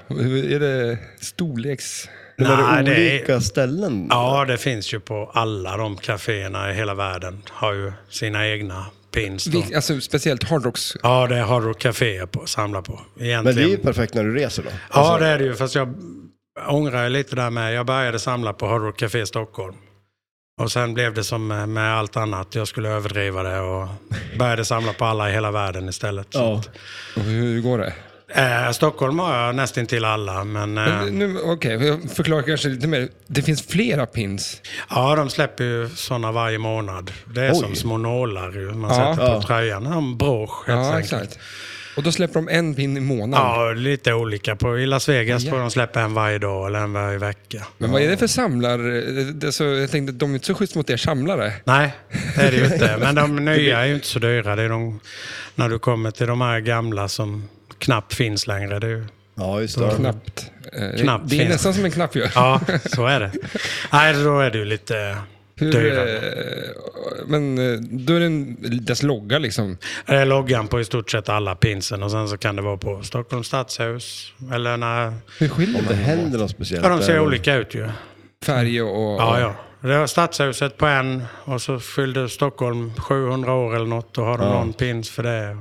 Speaker 1: Är det storleks...
Speaker 5: Men är det
Speaker 3: det är-
Speaker 5: olika ställen?
Speaker 3: Ja, det finns ju på alla de kaféerna i hela världen. Har ju sina egna pins. Då.
Speaker 1: Vil- Alltså speciellt hardrocks.
Speaker 3: Ja, det har du kaféer på, samla på. Egentligen.
Speaker 5: Men det är ju perfekt när du reser då.
Speaker 3: Ja, det är det ju. Fast jag ångrar ju lite där med. Jag började samla på Hard Rock Café Stockholm. Och sen blev det som med med allt annat. Jag skulle överdriva det och började samla på alla i hela världen istället. Så
Speaker 5: Ja.
Speaker 1: Och Hur hur går det?
Speaker 3: att, eh, Stockholm har jag nästan till alla, men eh,
Speaker 1: Men nu- Okej, jag förklarar kanske lite mer. Det finns flera pins.
Speaker 3: ja, de släpper ju sådana varje månad. Det är
Speaker 5: Oj.
Speaker 3: som små nålar ju,
Speaker 1: Ja.
Speaker 3: man sätter på
Speaker 5: Ja.
Speaker 3: tröjan. En brosch helt
Speaker 1: Ja,
Speaker 3: enkelt.
Speaker 1: exakt. Och då släpper de en pin i månaden.
Speaker 3: Ja, lite olika. På, I Las Vegas tror jag de släpper en varje dag eller en varje vecka.
Speaker 1: Men vad är det för samlar... Det är så, jag tänkte, de är inte så schysst mot er samlare.
Speaker 3: Nej, det är det ju inte. Men de nya är ju inte så dyra. Det är de, när du kommer till de här gamla som knappt finns längre. Det är ju,
Speaker 5: Ja, just det.
Speaker 1: Knappt. Eh,
Speaker 3: Knappt
Speaker 1: det är
Speaker 3: finns.
Speaker 1: nästan som en knapp ju.
Speaker 3: ja, så är det. Nej, då är det ju lite
Speaker 1: Hur,
Speaker 3: Döda.
Speaker 1: eh, men eh, då är det en, dess logga liksom.
Speaker 3: Det är loggan på i stort sett alla pinsen och sen så kan det vara på Stockholms stadshus. Eller när...
Speaker 1: Hur skiljer
Speaker 5: Om det
Speaker 1: det?
Speaker 5: händer något speciellt.
Speaker 3: Ja, de ser
Speaker 5: där,
Speaker 3: olika ut ju.
Speaker 1: Färg och... och
Speaker 3: Ja, ja. Det var stadshuset på en och så fyllde Stockholm 700 år eller något och har de någon pins för det.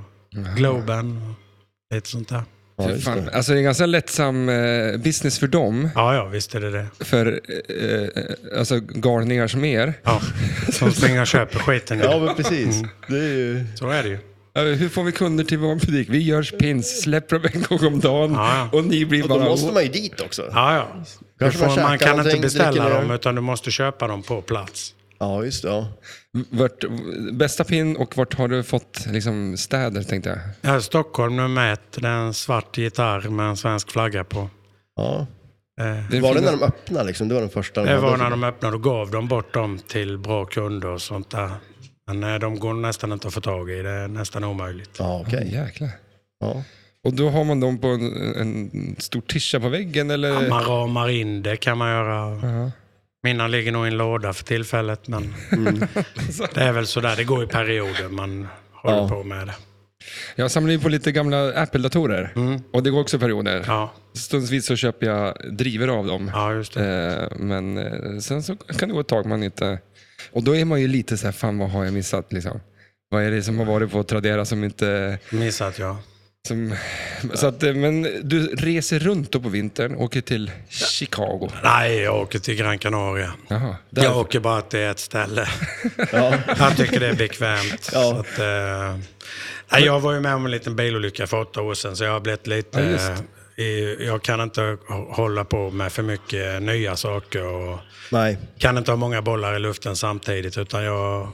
Speaker 3: Globen och lite sånt där.
Speaker 5: Ja, just
Speaker 1: Fan,
Speaker 5: det.
Speaker 1: alltså det är en ganska lättsam eh, business för dem,
Speaker 3: Ja, ja, visst är det det.
Speaker 1: för eh, alltså galningar som er.
Speaker 3: Ja, som springer och köper skiten.
Speaker 5: Ja,
Speaker 3: Ja.
Speaker 5: men precis. Det är ju...
Speaker 3: Så är det ju.
Speaker 1: Eh, Hur får vi kunder till vår butik? Vi gör pins, släpper dem en gång om dagen
Speaker 3: Ja, ja.
Speaker 1: och ni blir
Speaker 5: Och då
Speaker 1: bara...
Speaker 5: måste man ju dit också.
Speaker 3: Ja, ja. Du
Speaker 5: Kanske man
Speaker 3: får,
Speaker 5: käkar
Speaker 3: man kan inte
Speaker 5: någonting,
Speaker 3: beställa
Speaker 5: dricker
Speaker 3: dem
Speaker 5: öl.
Speaker 3: utan du måste köpa dem på plats.
Speaker 5: Ja, just det. Ja.
Speaker 1: Vart, bästa pin och vart har du fått liksom, städer tänkte jag?
Speaker 3: Ja, Stockholm nummer ett, det är en svart gitarr med en svensk flagga på.
Speaker 5: ja.
Speaker 3: Eh,
Speaker 1: Det
Speaker 5: Var det
Speaker 1: finns-
Speaker 5: när de öppnade liksom? Det var den första. de
Speaker 3: Det var
Speaker 5: hade.
Speaker 3: när de öppnade och gav dem bort dem till bra kunder och sånt där. Men eh, de går nästan inte att få tag i. Det är nästan omöjligt.
Speaker 5: Ja, okej.
Speaker 3: Mm.
Speaker 1: Jäklar.
Speaker 5: Ja.
Speaker 1: Och då har man dem på en, en stor tischa på väggen
Speaker 5: Eh.
Speaker 1: eller?
Speaker 3: Man ramar in det kan man göra.
Speaker 1: Ja.
Speaker 3: Mina ligger nog i en låda för tillfället. Men
Speaker 5: Mm.
Speaker 3: det är väl sådär. Det går i perioder man håller
Speaker 5: Ja.
Speaker 3: på med det.
Speaker 1: Jag samlar ju på lite gamla Apple-datorer
Speaker 5: Mm.
Speaker 1: och det går också perioder.
Speaker 3: Mm. Ja,
Speaker 1: Stundsvis så köper jag driver av dem.
Speaker 3: ja just det.
Speaker 1: Eh, Men eh, sen så kan det gå ett tag man inte... Och då är man ju lite så här, fan vad har jag missat liksom? Vad är det som har varit på Tradera som inte...
Speaker 3: Missat jag.
Speaker 1: Som, så att, eh, men du reser runt då på vintern, åker till Chicago.
Speaker 3: Nej, jag åker till Gran Canaria.
Speaker 1: Jaha, där.
Speaker 3: Jag åker bara till ett ställe.
Speaker 5: Ja.
Speaker 3: Jag tycker det är bekvämt.
Speaker 5: Ja.
Speaker 3: så att, eh, nej, jag var ju med om en liten bilolycka för åtta år sedan, så jag har blivit lite...
Speaker 1: Ja, just.
Speaker 3: eh, i, jag kan inte hå- hålla på med för mycket nya saker och
Speaker 5: Nej.
Speaker 3: kan inte ha många bollar i luften samtidigt, utan jag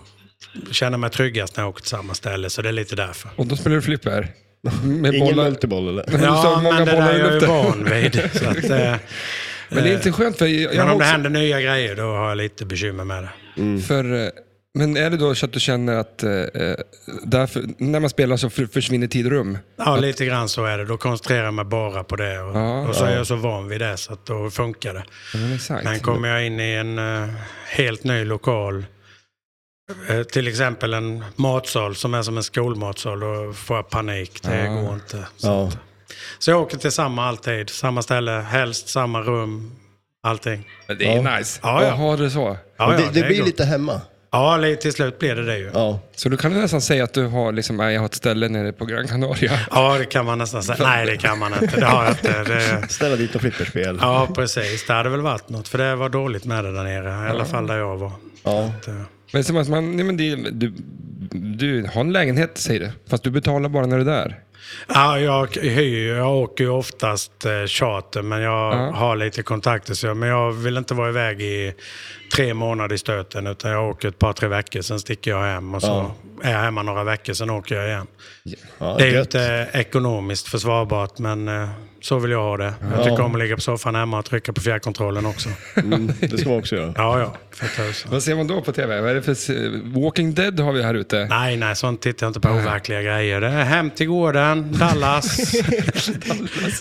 Speaker 3: känner mig tryggast när jag åker till samma ställe, så det är lite därför.
Speaker 1: Och då spelar du flipper? Med
Speaker 5: Ingen
Speaker 1: bollar.
Speaker 5: multiboll eller?
Speaker 1: du sa
Speaker 3: Ja,
Speaker 1: många
Speaker 3: men det
Speaker 1: bollar
Speaker 3: där
Speaker 1: i
Speaker 3: är jag ju
Speaker 1: luften.
Speaker 3: van vid. Så att, eh,
Speaker 1: Men det är inte skönt för... Jag, jag har
Speaker 3: men om det Mm.
Speaker 1: också,
Speaker 3: händer nya grejer, då har jag lite bekymmer med det.
Speaker 1: för eh, men är det då så att du känner att eh, eh, därför, när man spelar så för- försvinner tid och rum?
Speaker 3: Ja, lite grann så är det. Då koncentrerar jag mig bara på det. Och,
Speaker 1: Ja,
Speaker 3: och så är jag så van vid det, så att då funkar det.
Speaker 1: Ja, men exakt.
Speaker 3: Men kommer jag in i en eh, helt ny lokal, eh, till exempel en matsal som är som en skolmatsal, då får jag panik. Det
Speaker 1: Ja.
Speaker 3: går inte. Så,
Speaker 5: Ja.
Speaker 3: så jag åker till samma alltid, samma ställe, helst samma rum, allting.
Speaker 1: Men det är nice.
Speaker 3: Ja, ja.
Speaker 1: Jaha, det är så.
Speaker 3: Ja, ja,
Speaker 5: det, det
Speaker 3: är
Speaker 5: blir
Speaker 3: gott.
Speaker 5: lite hemma.
Speaker 3: Ja, li- till slut blir det det ju.
Speaker 5: Ja.
Speaker 1: Så du kan nästan säga att du har, liksom, nej, jag har ett ställe nere på Gran Canaria.
Speaker 3: Ja, det kan man nästan säga. Nej, det kan man inte. Det har jag inte. Det,
Speaker 5: Ställa dit och flipperspel. Ja.
Speaker 3: Ja, precis. Det hade väl varit något, för det var dåligt med det där nere. I alla fall där jag var.
Speaker 5: Ja.
Speaker 3: Att, eh,
Speaker 1: Men som att man, nej, men det, du, du har en lägenhet, säger du. Fast du betalar bara när du är där.
Speaker 3: Ja, jag hyr ju. Jag åker ju oftast eh, charter, men jag
Speaker 1: Ja.
Speaker 3: har lite kontakter. Så jag, men jag vill inte vara iväg i tre månader i stöten, utan jag åker ett par, tre veckor. Sen sticker jag hem och så är jag hemma några veckor, sen åker jag igen. det är ju
Speaker 5: gött.
Speaker 3: inte ekonomiskt försvarbart, men eh, så vill jag ha det. Jag tycker om att ligga på soffan hemma och trycka på fjärrkontrollen också.
Speaker 5: Mm, det ska man också göra.
Speaker 3: Ja, ja. För tusan.
Speaker 1: Vad ser man då på tv? Vad är det för, se- Walking Dead har vi här ute.
Speaker 3: Nej, nej, sånt tittar jag inte på. Overkliga grejer. Det är hem till gården, Dallas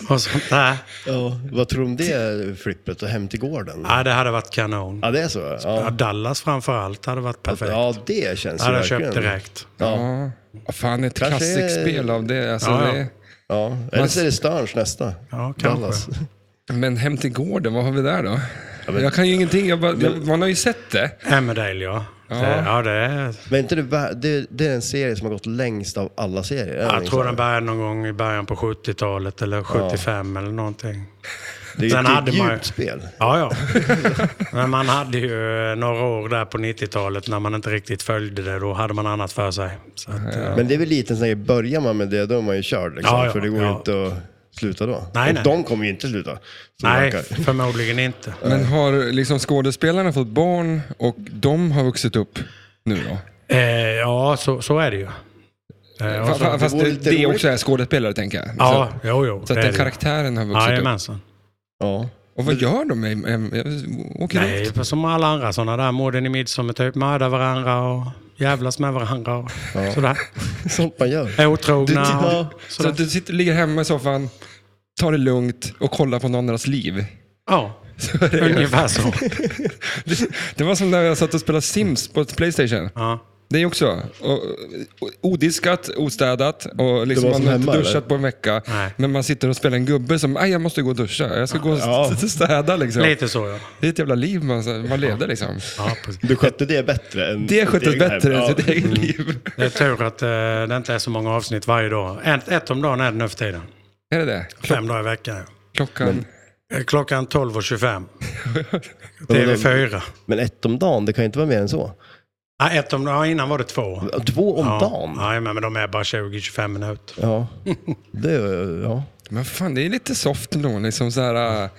Speaker 3: och sånt där.
Speaker 5: Ja. Vad tror du om det flippet och hem till gården?
Speaker 3: Ja, det hade varit kanon.
Speaker 5: Ja, det är så?
Speaker 3: Ja,
Speaker 5: Ja,
Speaker 3: Dallas framför allt hade varit perfekt. Ja,
Speaker 5: ja det känns
Speaker 3: det
Speaker 5: ju
Speaker 3: hade jag
Speaker 5: verkligen.
Speaker 3: köpt direkt.
Speaker 5: Ja.
Speaker 1: Ja. Ja, Fan, ett
Speaker 5: Kanske-
Speaker 1: klassikspel av det. Alltså,
Speaker 3: Ja, ja.
Speaker 1: det.
Speaker 5: ja. Eller så är det Sterns nästa.
Speaker 3: Ja, kanske.
Speaker 5: Dallas.
Speaker 1: Men hem till gården, vad har vi där då?
Speaker 5: men-
Speaker 1: jag kan ju ingenting. Jag bara, man har ju sett det.
Speaker 3: Emmerdale, ja. Ja, det, ja, det är...
Speaker 5: Men inte det, vä- det, det är en serie som har gått längst av alla serier. är det
Speaker 3: Jag
Speaker 5: inte
Speaker 3: tror
Speaker 5: så?
Speaker 3: den började någon gång i början på 70-talet eller 75 eller någonting.
Speaker 5: det är ju
Speaker 3: den
Speaker 5: ett
Speaker 3: hade man ju.
Speaker 5: djupt spel.
Speaker 3: Ja, ja. Men man hade ju eh, några år där på 90-talet när man inte riktigt följde det. Då hade man annat för sig. Så att, eh,
Speaker 5: Men det är väl lite en sån här, börjar man med det då är man ju körd. Liksom,
Speaker 3: Ja, ja,
Speaker 5: för det går ju
Speaker 3: ja.
Speaker 5: inte att sluta då.
Speaker 3: Nej,
Speaker 5: och
Speaker 3: nej.
Speaker 5: de kommer ju inte sluta. som
Speaker 3: nej,
Speaker 5: verkar.
Speaker 3: förmodligen inte.
Speaker 1: Men har liksom skådespelarna fått barn och de har vuxit upp nu då?
Speaker 3: Eh, ja, så, så är det ju. Eh, och
Speaker 1: Fa-
Speaker 3: så,
Speaker 1: fa- Fast
Speaker 5: vore
Speaker 1: det,
Speaker 5: lite
Speaker 1: det är
Speaker 5: roligt.
Speaker 1: också är skådespelare, tänker jag.
Speaker 3: ja, jo, jo.
Speaker 1: så så att
Speaker 3: det är
Speaker 1: den
Speaker 3: det ju.
Speaker 1: karaktären har vuxit upp.
Speaker 3: Jajamensan.
Speaker 5: Ja.
Speaker 1: Och vad gör de? med- med- med- Åker runt?
Speaker 3: Nej, för som alla andra sådana där morden i midsommar, typ mörda varandra och jävlas med varandra och sådär.
Speaker 5: Sånt man gör.
Speaker 3: Är otrogna
Speaker 5: Du-
Speaker 3: och
Speaker 1: Så
Speaker 3: sådär.
Speaker 1: att du sitter, ligger hemma i soffan, tar det lugnt och kollar på någon annans liv.
Speaker 3: Ja, ungefär så.
Speaker 1: Det var som när jag satt och spelade Sims på ett Playstation.
Speaker 3: Ja.
Speaker 1: Det är också. Och, och, odiskat, ostädat och liksom
Speaker 5: var
Speaker 1: man
Speaker 5: som
Speaker 1: har
Speaker 5: hemma,
Speaker 1: inte duschat
Speaker 5: eller?
Speaker 1: på en vecka.
Speaker 3: Nej.
Speaker 1: Men man sitter och spelar en gubbe som, "Aj, jag måste gå och duscha. Jag ska gå och
Speaker 5: Ja.
Speaker 1: st- städa liksom.
Speaker 3: Lite så ja.
Speaker 1: Det är ett jävla liv man, man leder liksom.
Speaker 3: ja precis.
Speaker 5: Du skötte det bättre än
Speaker 1: Det
Speaker 5: ditt
Speaker 1: sköttes
Speaker 5: egna
Speaker 1: bättre
Speaker 5: hem.
Speaker 1: än sitt
Speaker 5: Ja. Mm.
Speaker 1: eget liv.
Speaker 3: Det är tur att eh, det inte är så många avsnitt varje dag. Ett, ett om dagen är det nu för tiden.
Speaker 1: Är det det?
Speaker 3: Fem dagar i veckan. ja.
Speaker 1: Klockan?
Speaker 3: Eh, Klockan 12.25. TV4.
Speaker 5: Men ett om dagen, det kan ju inte vara mer än så.
Speaker 3: Ja, ett om, ja, innan var det två.
Speaker 2: Alltså,
Speaker 5: Två om
Speaker 3: Ja,
Speaker 5: dagen?
Speaker 3: ja, men men de är bara 20-25 minuter.
Speaker 5: Ja. Det, är- ja.
Speaker 1: Men fan, det är lite soft ändå. Liksom så här,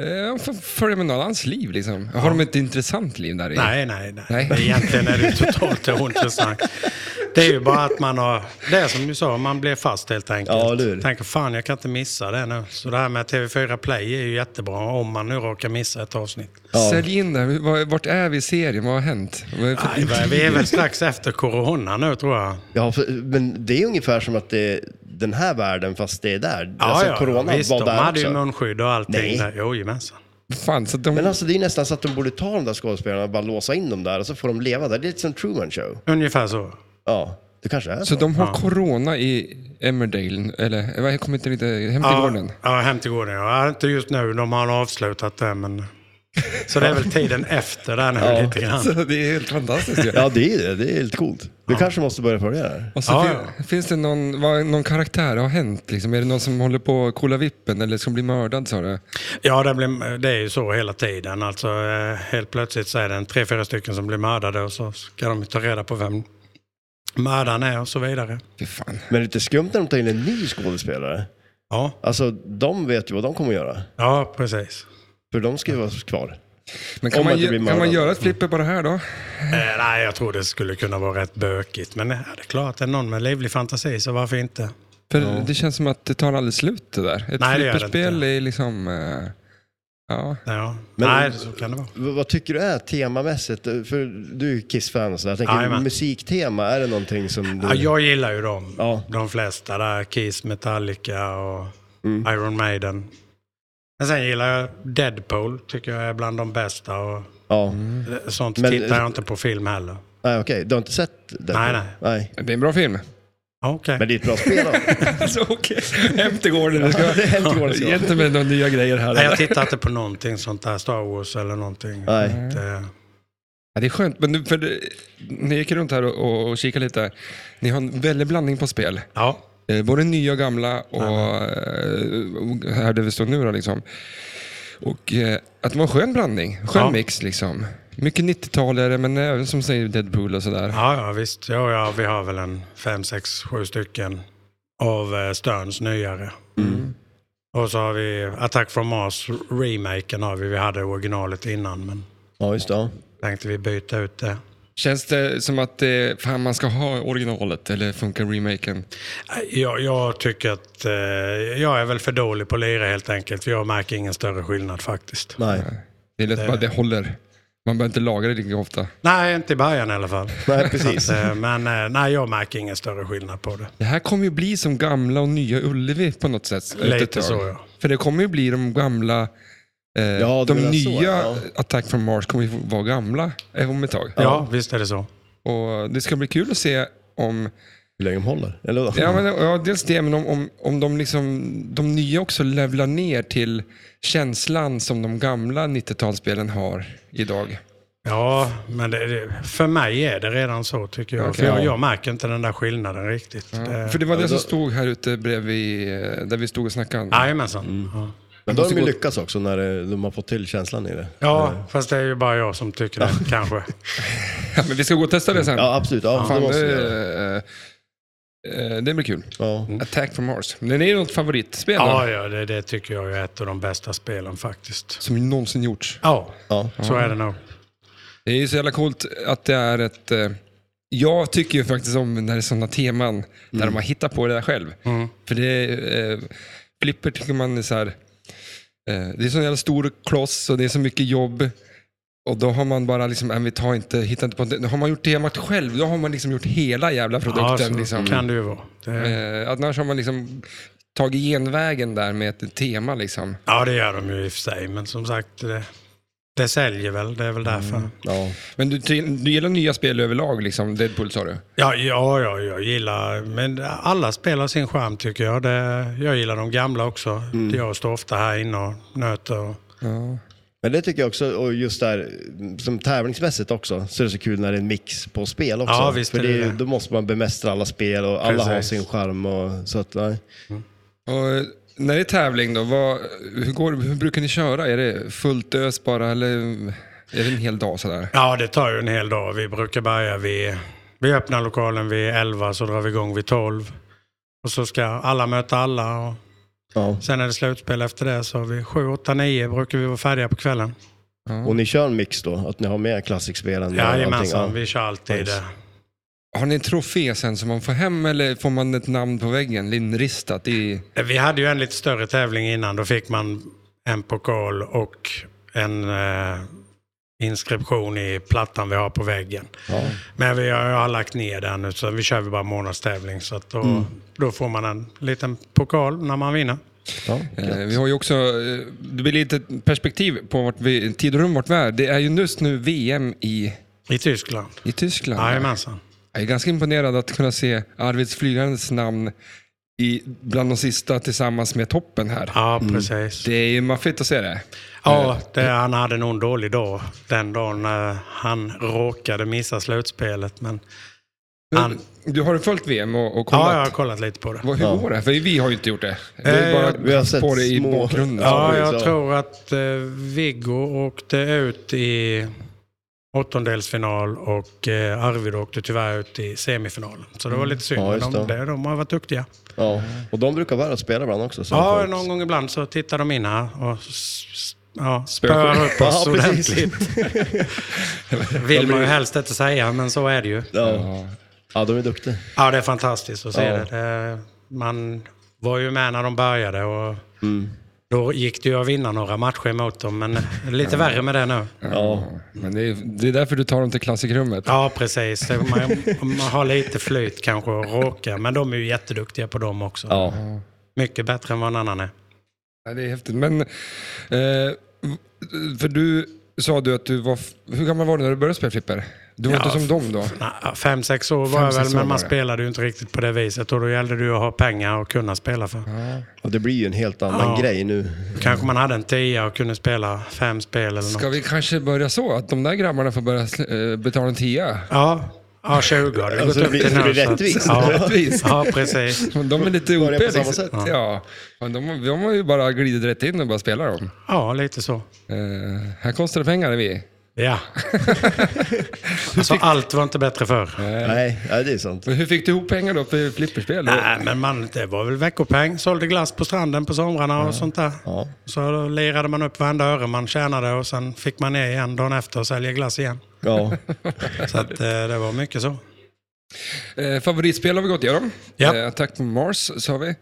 Speaker 1: eh, jag får följa med någon annans liv liksom. Har de ett intressant liv där i?
Speaker 3: Nej, nej, nej.
Speaker 1: Nej.
Speaker 3: nej. Egentligen är det ju totalt ointressant. Det är ju bara att man har, det är som du sa, man blir fast helt enkelt.
Speaker 5: Ja, det är det.
Speaker 3: Tänker fan jag kan inte missa det nu. Så det här med TV4 Play är ju jättebra om man nu råkar missa ett avsnitt.
Speaker 5: Ja.
Speaker 1: Sälj in det. här. Var- Vart är vi i serien? Vad har hänt? Vad är det för
Speaker 3: Nej, vi- vi är väl strax efter corona nu tror jag.
Speaker 5: Ja, för, men det är ungefär som att det är den här världen fast det är där.
Speaker 3: Ja,
Speaker 5: alltså,
Speaker 3: ja,
Speaker 5: corona
Speaker 3: visst,
Speaker 5: var
Speaker 3: de
Speaker 5: där
Speaker 3: hade ju
Speaker 5: också.
Speaker 3: munskydd och allting.
Speaker 5: Nej.
Speaker 3: Där. Jojomensan.
Speaker 1: Fan, så de...
Speaker 5: Men alltså det är ju nästan så att de borde ta de där skådespelarna och bara låsa in dem där och så får de leva där. Det är lite som Truman Show.
Speaker 3: Ungefär så.
Speaker 5: Ja, det kanske är
Speaker 1: Så
Speaker 5: så.
Speaker 1: de har corona i Emmerdale, eller eh, vad- jag kommer inte riktigt hem till gården.
Speaker 3: Ja, hem till gården. Ja, inte just nu. De har avslutat det, men... Så det är väl tiden efter där nu lite grann.
Speaker 1: Så det är helt fantastiskt ju.
Speaker 5: Ja, det är det. Det är lite coolt. Du kanske måste börja följa det här.
Speaker 1: Och så
Speaker 3: Ja,
Speaker 1: fin- Finns det någon, vad, någon karaktär har hänt? Liksom? Är det någon som håller på att kolla vippen eller som blir mördad sa du?
Speaker 3: Ja, det, blir, det är ju så hela tiden. Alltså, eh, helt plötsligt så är det en tre, fyra stycken som blir mördade och så ska de ta reda på vem mördaren är och så vidare.
Speaker 1: Fy fan.
Speaker 5: Men lite skumt när de tar in en ny skådespelare.
Speaker 3: Ja,
Speaker 5: Alltså, de vet ju vad de kommer att göra.
Speaker 3: ja precis.
Speaker 5: För de ska ju vara kvar.
Speaker 1: Men kan
Speaker 5: Om
Speaker 1: man,
Speaker 5: att det
Speaker 1: gö-
Speaker 5: blir
Speaker 1: kan man
Speaker 5: mördad.
Speaker 1: göra ett flipper på det här då?
Speaker 3: Eh, nej, jag tror det skulle kunna vara rätt bökigt. Men eh, det är klart, är det någon med livlig fantasi så varför inte?
Speaker 1: För det känns som att det tar aldrig slut det där. Ett
Speaker 3: Nej, det gör det
Speaker 1: flipperspel
Speaker 3: inte.
Speaker 1: är liksom... eh, ja.
Speaker 3: Ja.
Speaker 5: Men-
Speaker 3: nej, så kan det vara.
Speaker 5: V- vad tycker du är temamässigt? För du är ju Kiss-fan och sådär. Jag tänker,
Speaker 3: Jajamän.
Speaker 5: musiktema, är det någonting som du...
Speaker 3: Ja, jag gillar ju dem.
Speaker 5: Ja.
Speaker 3: De flesta där. Kiss, Metallica och
Speaker 5: Mm.
Speaker 3: Iron Maiden. Men sen gillar jag Deadpool. Tycker jag är bland de bästa. Och
Speaker 5: Ja.
Speaker 3: Mm. sånt
Speaker 5: Men-
Speaker 3: tittar jag inte på film heller.
Speaker 5: Nej, okej. Du har inte sett det?
Speaker 3: Nej, nej.
Speaker 5: nej.
Speaker 1: Det är en bra film.
Speaker 3: Ah, Okej.
Speaker 5: Men det är ett bra spel då.
Speaker 1: alltså okej, hem till gården.
Speaker 5: det är helt gården
Speaker 1: Ge inte mig några nya grejer här.
Speaker 3: Nej, jag tittar inte på någonting sånt där. Star Wars eller någonting. eh,
Speaker 5: Nej.
Speaker 3: Det,
Speaker 1: Ja, det är skönt, men nu, för det, ni gick runt här och, och, och kikade lite. Ni har en väldig blandning på spel.
Speaker 3: ja.
Speaker 1: Eh, både nya och gamla och, eh, och här där vi står nu då liksom. Och eh, att det var en skön blandning, skön
Speaker 3: Ja.
Speaker 1: mix liksom. Mycket 90-talare men även som säger Deadpool och sådär.
Speaker 3: Ja, ja, visst. Ja, ja, vi har väl en fem, sex, sju stycken av eh, Sterns nyare.
Speaker 5: Mm.
Speaker 3: Och så har vi Attack from Mars, remaken har vi. Vi hade originalet innan, men
Speaker 5: Ja, just det. ja.
Speaker 3: tänkte vi byta ut det.
Speaker 1: Känns det som att eh, fan, man ska ha originalet eller funkar remaken?
Speaker 3: Jag, jag tycker att eh, jag är väl för dålig på att lira helt enkelt. för Jag märker ingen större skillnad faktiskt.
Speaker 5: Nej.
Speaker 1: Det är lätt bara det håller. Man behöver inte laga det lika ofta.
Speaker 3: Nej, inte i början i alla fall.
Speaker 5: Nej, precis.
Speaker 3: Så att, eh, men eh, nej, jag märker ingen större skillnad på det.
Speaker 1: Det här kommer ju bli som gamla och nya Ullevi på något sätt.
Speaker 3: Lite
Speaker 1: efter ett tag.
Speaker 3: så, ja.
Speaker 1: För det kommer ju bli de gamla... Eh,
Speaker 5: Ja, du
Speaker 1: de
Speaker 5: menar så,
Speaker 1: nya
Speaker 5: ja.
Speaker 1: Attack from Mars kommer ju vara gamla eh, om ett tag.
Speaker 3: Ja, visst är det så.
Speaker 1: Och det ska bli kul att se om...
Speaker 5: Hur länge de håller. Eller vadå?
Speaker 1: Ja, men, ja dels det, men om, om, om de, liksom, de nya också levlar ner till känslan som de gamla 90-talsspelen har idag.
Speaker 3: Ja, men det, det, för mig är det redan så tycker jag.
Speaker 1: Okej. Mm.
Speaker 3: för jag, jag märker inte den där skillnaden riktigt. Eh, Det-
Speaker 1: För det var det som stod här ute bredvid, eh, där vi stod och snackade.
Speaker 3: Jajamensan. Ja.
Speaker 5: Men då har
Speaker 1: måste
Speaker 5: de ju
Speaker 1: gå-
Speaker 5: lyckats också när eh, de har fått till känslan i det.
Speaker 3: ja, fast det är ju bara jag som tycker det kanske.
Speaker 1: Ja, men vi ska gå och testa det sen.
Speaker 5: Ja, absolut. Ja, det
Speaker 1: Fan,
Speaker 5: måste vi
Speaker 1: det,
Speaker 5: göra.
Speaker 1: eh, eh, det blir kul.
Speaker 5: Ja.
Speaker 1: Attack from Mars. Men det är ju något favoritspel då,
Speaker 3: Ja, ja det, det tycker jag är ett av de bästa spelen faktiskt.
Speaker 1: som någonsin gjorts.
Speaker 3: Ja,
Speaker 5: Ja.
Speaker 3: så är det nog.
Speaker 1: Det är ju så jävla coolt att det är ett... Eh, jag tycker ju faktiskt om när det är sådana teman där de har hittat på det där själv. För det... Eh, flipper tycker man är så här... Eh, det är så jävla stor kloss och det är så mycket jobb. Och då har man bara liksom, äh, vi tar inte, hittar inte på det. Har man gjort temat själv, då har man liksom gjort hela jävla
Speaker 3: Ja,
Speaker 1: produkten.
Speaker 3: så
Speaker 1: liksom.
Speaker 3: kan det ju vara. Det,
Speaker 1: Eh, annars har man liksom tagit genvägen där med ett tema liksom.
Speaker 3: Ja, det gör de ju i och för sig, men som sagt, det, det säljer väl. Det är väl därför.
Speaker 5: Ja.
Speaker 1: Men du, du gillar nya spel överlag liksom, Deadpool sa du?
Speaker 3: Ja, ja, ja, jag gillar... Men alla spelar sin charm tycker jag. Det, jag gillar de gamla också. Jag står ofta här inne och nöter. Och,
Speaker 1: Ja.
Speaker 5: Men det tycker jag också, och just där som tävlingsmässigt också, så är det så kul när det är en mix på spel också.
Speaker 3: Ja, visst
Speaker 5: För
Speaker 3: är det
Speaker 5: är ju-
Speaker 3: det.
Speaker 5: då måste man bemästra alla spel och alla har
Speaker 3: Precis.
Speaker 5: sin charm. Och, så att, nej.
Speaker 1: Och eh, när det är tävling då, vad, hur, går, hur brukar ni köra? Är det fullt ös bara eller är det en hel dag sådär?
Speaker 3: ja, det tar ju en hel dag. Vi brukar börja vid... Vi öppnar lokalen vid 11 så drar vi igång vid 12. Och så ska alla möta alla. Och
Speaker 5: Ja.
Speaker 3: sen är det slutspel efter det. Så vid 7, 8, 9 brukar vi vara färdiga på kvällen.
Speaker 5: Och ni kör en mix då? Att ni har med klassikspelen? och
Speaker 3: Jajamensan,
Speaker 5: allting,
Speaker 3: vi kör alltid det.
Speaker 1: Har ni en trofé sen som man får hem eller får man ett namn på väggen inristat i... eh,
Speaker 3: Eh, Vi hade ju en lite större tävling innan. Då fick man en pokal och en eh, inskription i plattan vi har på väggen.
Speaker 5: Ja.
Speaker 3: Men vi har, jag har lagt ner den nu, så vi kör ju bara månadstävling. Så att då, då får man en liten pokal när man vinner.
Speaker 5: Ja. Ja.
Speaker 1: Eh, vi har ju också, eh, det blir lite perspektiv på vart vi, tid och rum vart vi är. Det är ju just nu VM i,
Speaker 3: I Tyskland.
Speaker 1: i Tyskland.
Speaker 3: Jajamensan.
Speaker 1: Jag är ganska imponerad att kunna se Arvids Flygandes namn i, bland de sista tillsammans med toppen här.
Speaker 3: Ja, precis.
Speaker 1: Det är ju maffigt att se det.
Speaker 3: Ja, det, han hade nog en dålig dag den dagen när han råkade missa slutspelet. Men han,
Speaker 1: Du har följt VM och, och kollat?
Speaker 3: ja, jag har kollat lite på det.
Speaker 1: Vad- Hur går det? För vi har ju inte gjort det. Vi
Speaker 3: Eh,
Speaker 1: har ju bara
Speaker 5: vi har
Speaker 1: haft
Speaker 5: sett
Speaker 1: på det i
Speaker 5: små-
Speaker 1: bakgrunden.
Speaker 3: Ja,
Speaker 5: Ja,
Speaker 3: jag
Speaker 5: så.
Speaker 3: tror att eh, Viggo åkte ut i åttondelsfinal och eh, Arvid åkte tyvärr ut i semifinalen. Så det var lite synd.
Speaker 5: Mm. Ja,
Speaker 3: men
Speaker 5: just
Speaker 3: de,
Speaker 5: det.
Speaker 3: de, de har varit duktiga.
Speaker 5: Ja. Och de brukar vara och spela ibland också. Så
Speaker 3: Ja,
Speaker 5: folk-
Speaker 3: någon gång ibland så tittar de in här och s- s- ja,
Speaker 1: Spökar.
Speaker 3: spöar upp oss
Speaker 5: Ja, precis.
Speaker 3: ordentligt. vill man ju helst inte säga, men så är det ju.
Speaker 5: Ja. ja, de är duktiga.
Speaker 3: Ja, det är fantastiskt att se
Speaker 5: Ja.
Speaker 3: det. det. Man var ju med när de började och
Speaker 5: Mm.
Speaker 3: då gick det ju att vinna några matcher mot dem, men lite värre med det nu.
Speaker 5: Ja.
Speaker 1: Men det är, det är därför du tar dem till klassikrummet.
Speaker 3: Ja, precis. Man, man har lite flyt kanske och råkar, men de är ju jätteduktiga på dem också.
Speaker 5: Ja.
Speaker 3: Mycket bättre än vad någon annan är.
Speaker 1: Ja, det är häftigt. Men, eh, för du sa du att du var... f- Hur gammal var du när du började spela flipper? Du var
Speaker 3: Ja,
Speaker 1: inte som
Speaker 3: f-
Speaker 1: dem då?
Speaker 3: Nej, Fem, sex år var
Speaker 1: Fem,
Speaker 3: jag
Speaker 1: sex
Speaker 3: väl,
Speaker 1: år
Speaker 3: men
Speaker 1: var
Speaker 3: man
Speaker 1: det.
Speaker 3: spelade ju inte riktigt på det viset. Och då gällde det ju att ha pengar och kunna spela för.
Speaker 5: Och det blir ju en helt annan
Speaker 3: Ja.
Speaker 5: grej nu.
Speaker 3: Kanske man hade en tia och kunde spela fem spel eller
Speaker 1: Ska
Speaker 3: något.
Speaker 1: vi kanske börja så? Att de där grabbarna får börja sl- eh, betala en tia?
Speaker 3: Ja, ja 20 har det
Speaker 5: Alltså,
Speaker 3: gått upp
Speaker 5: det
Speaker 3: till
Speaker 5: blir- det
Speaker 3: nu.
Speaker 5: blir
Speaker 3: så att-
Speaker 5: rättvist.
Speaker 3: Ja,
Speaker 1: Rättvist.
Speaker 3: ja, precis.
Speaker 1: De är lite
Speaker 5: Börja
Speaker 1: OP.
Speaker 5: på samma
Speaker 1: Liksom.
Speaker 5: sätt.
Speaker 1: Ja. Men De, de har ju bara glidit rätt in och bara spelar dem.
Speaker 3: Ja, lite så.
Speaker 1: Eh, här kostar det pengar, är vi.
Speaker 3: Ja. Alltså, allt var inte bättre förr.
Speaker 5: Nej, ja, det är sant.
Speaker 1: Men hur fick du ihop pengar då för flipperspel?
Speaker 3: Nej, men man, det var väl veckopeng. Sålde glass på stranden på somrarna och sånt där.
Speaker 5: Ja.
Speaker 3: Så lirade man upp varenda öre man tjänade och sen fick man ner igen dagen efter och sälja glass igen.
Speaker 5: Ja.
Speaker 3: Så att, eh, det var mycket så.
Speaker 1: Eh, favoritspel har vi gått igenom.
Speaker 3: Ja.
Speaker 1: Eh, Attack from Mars sa vi.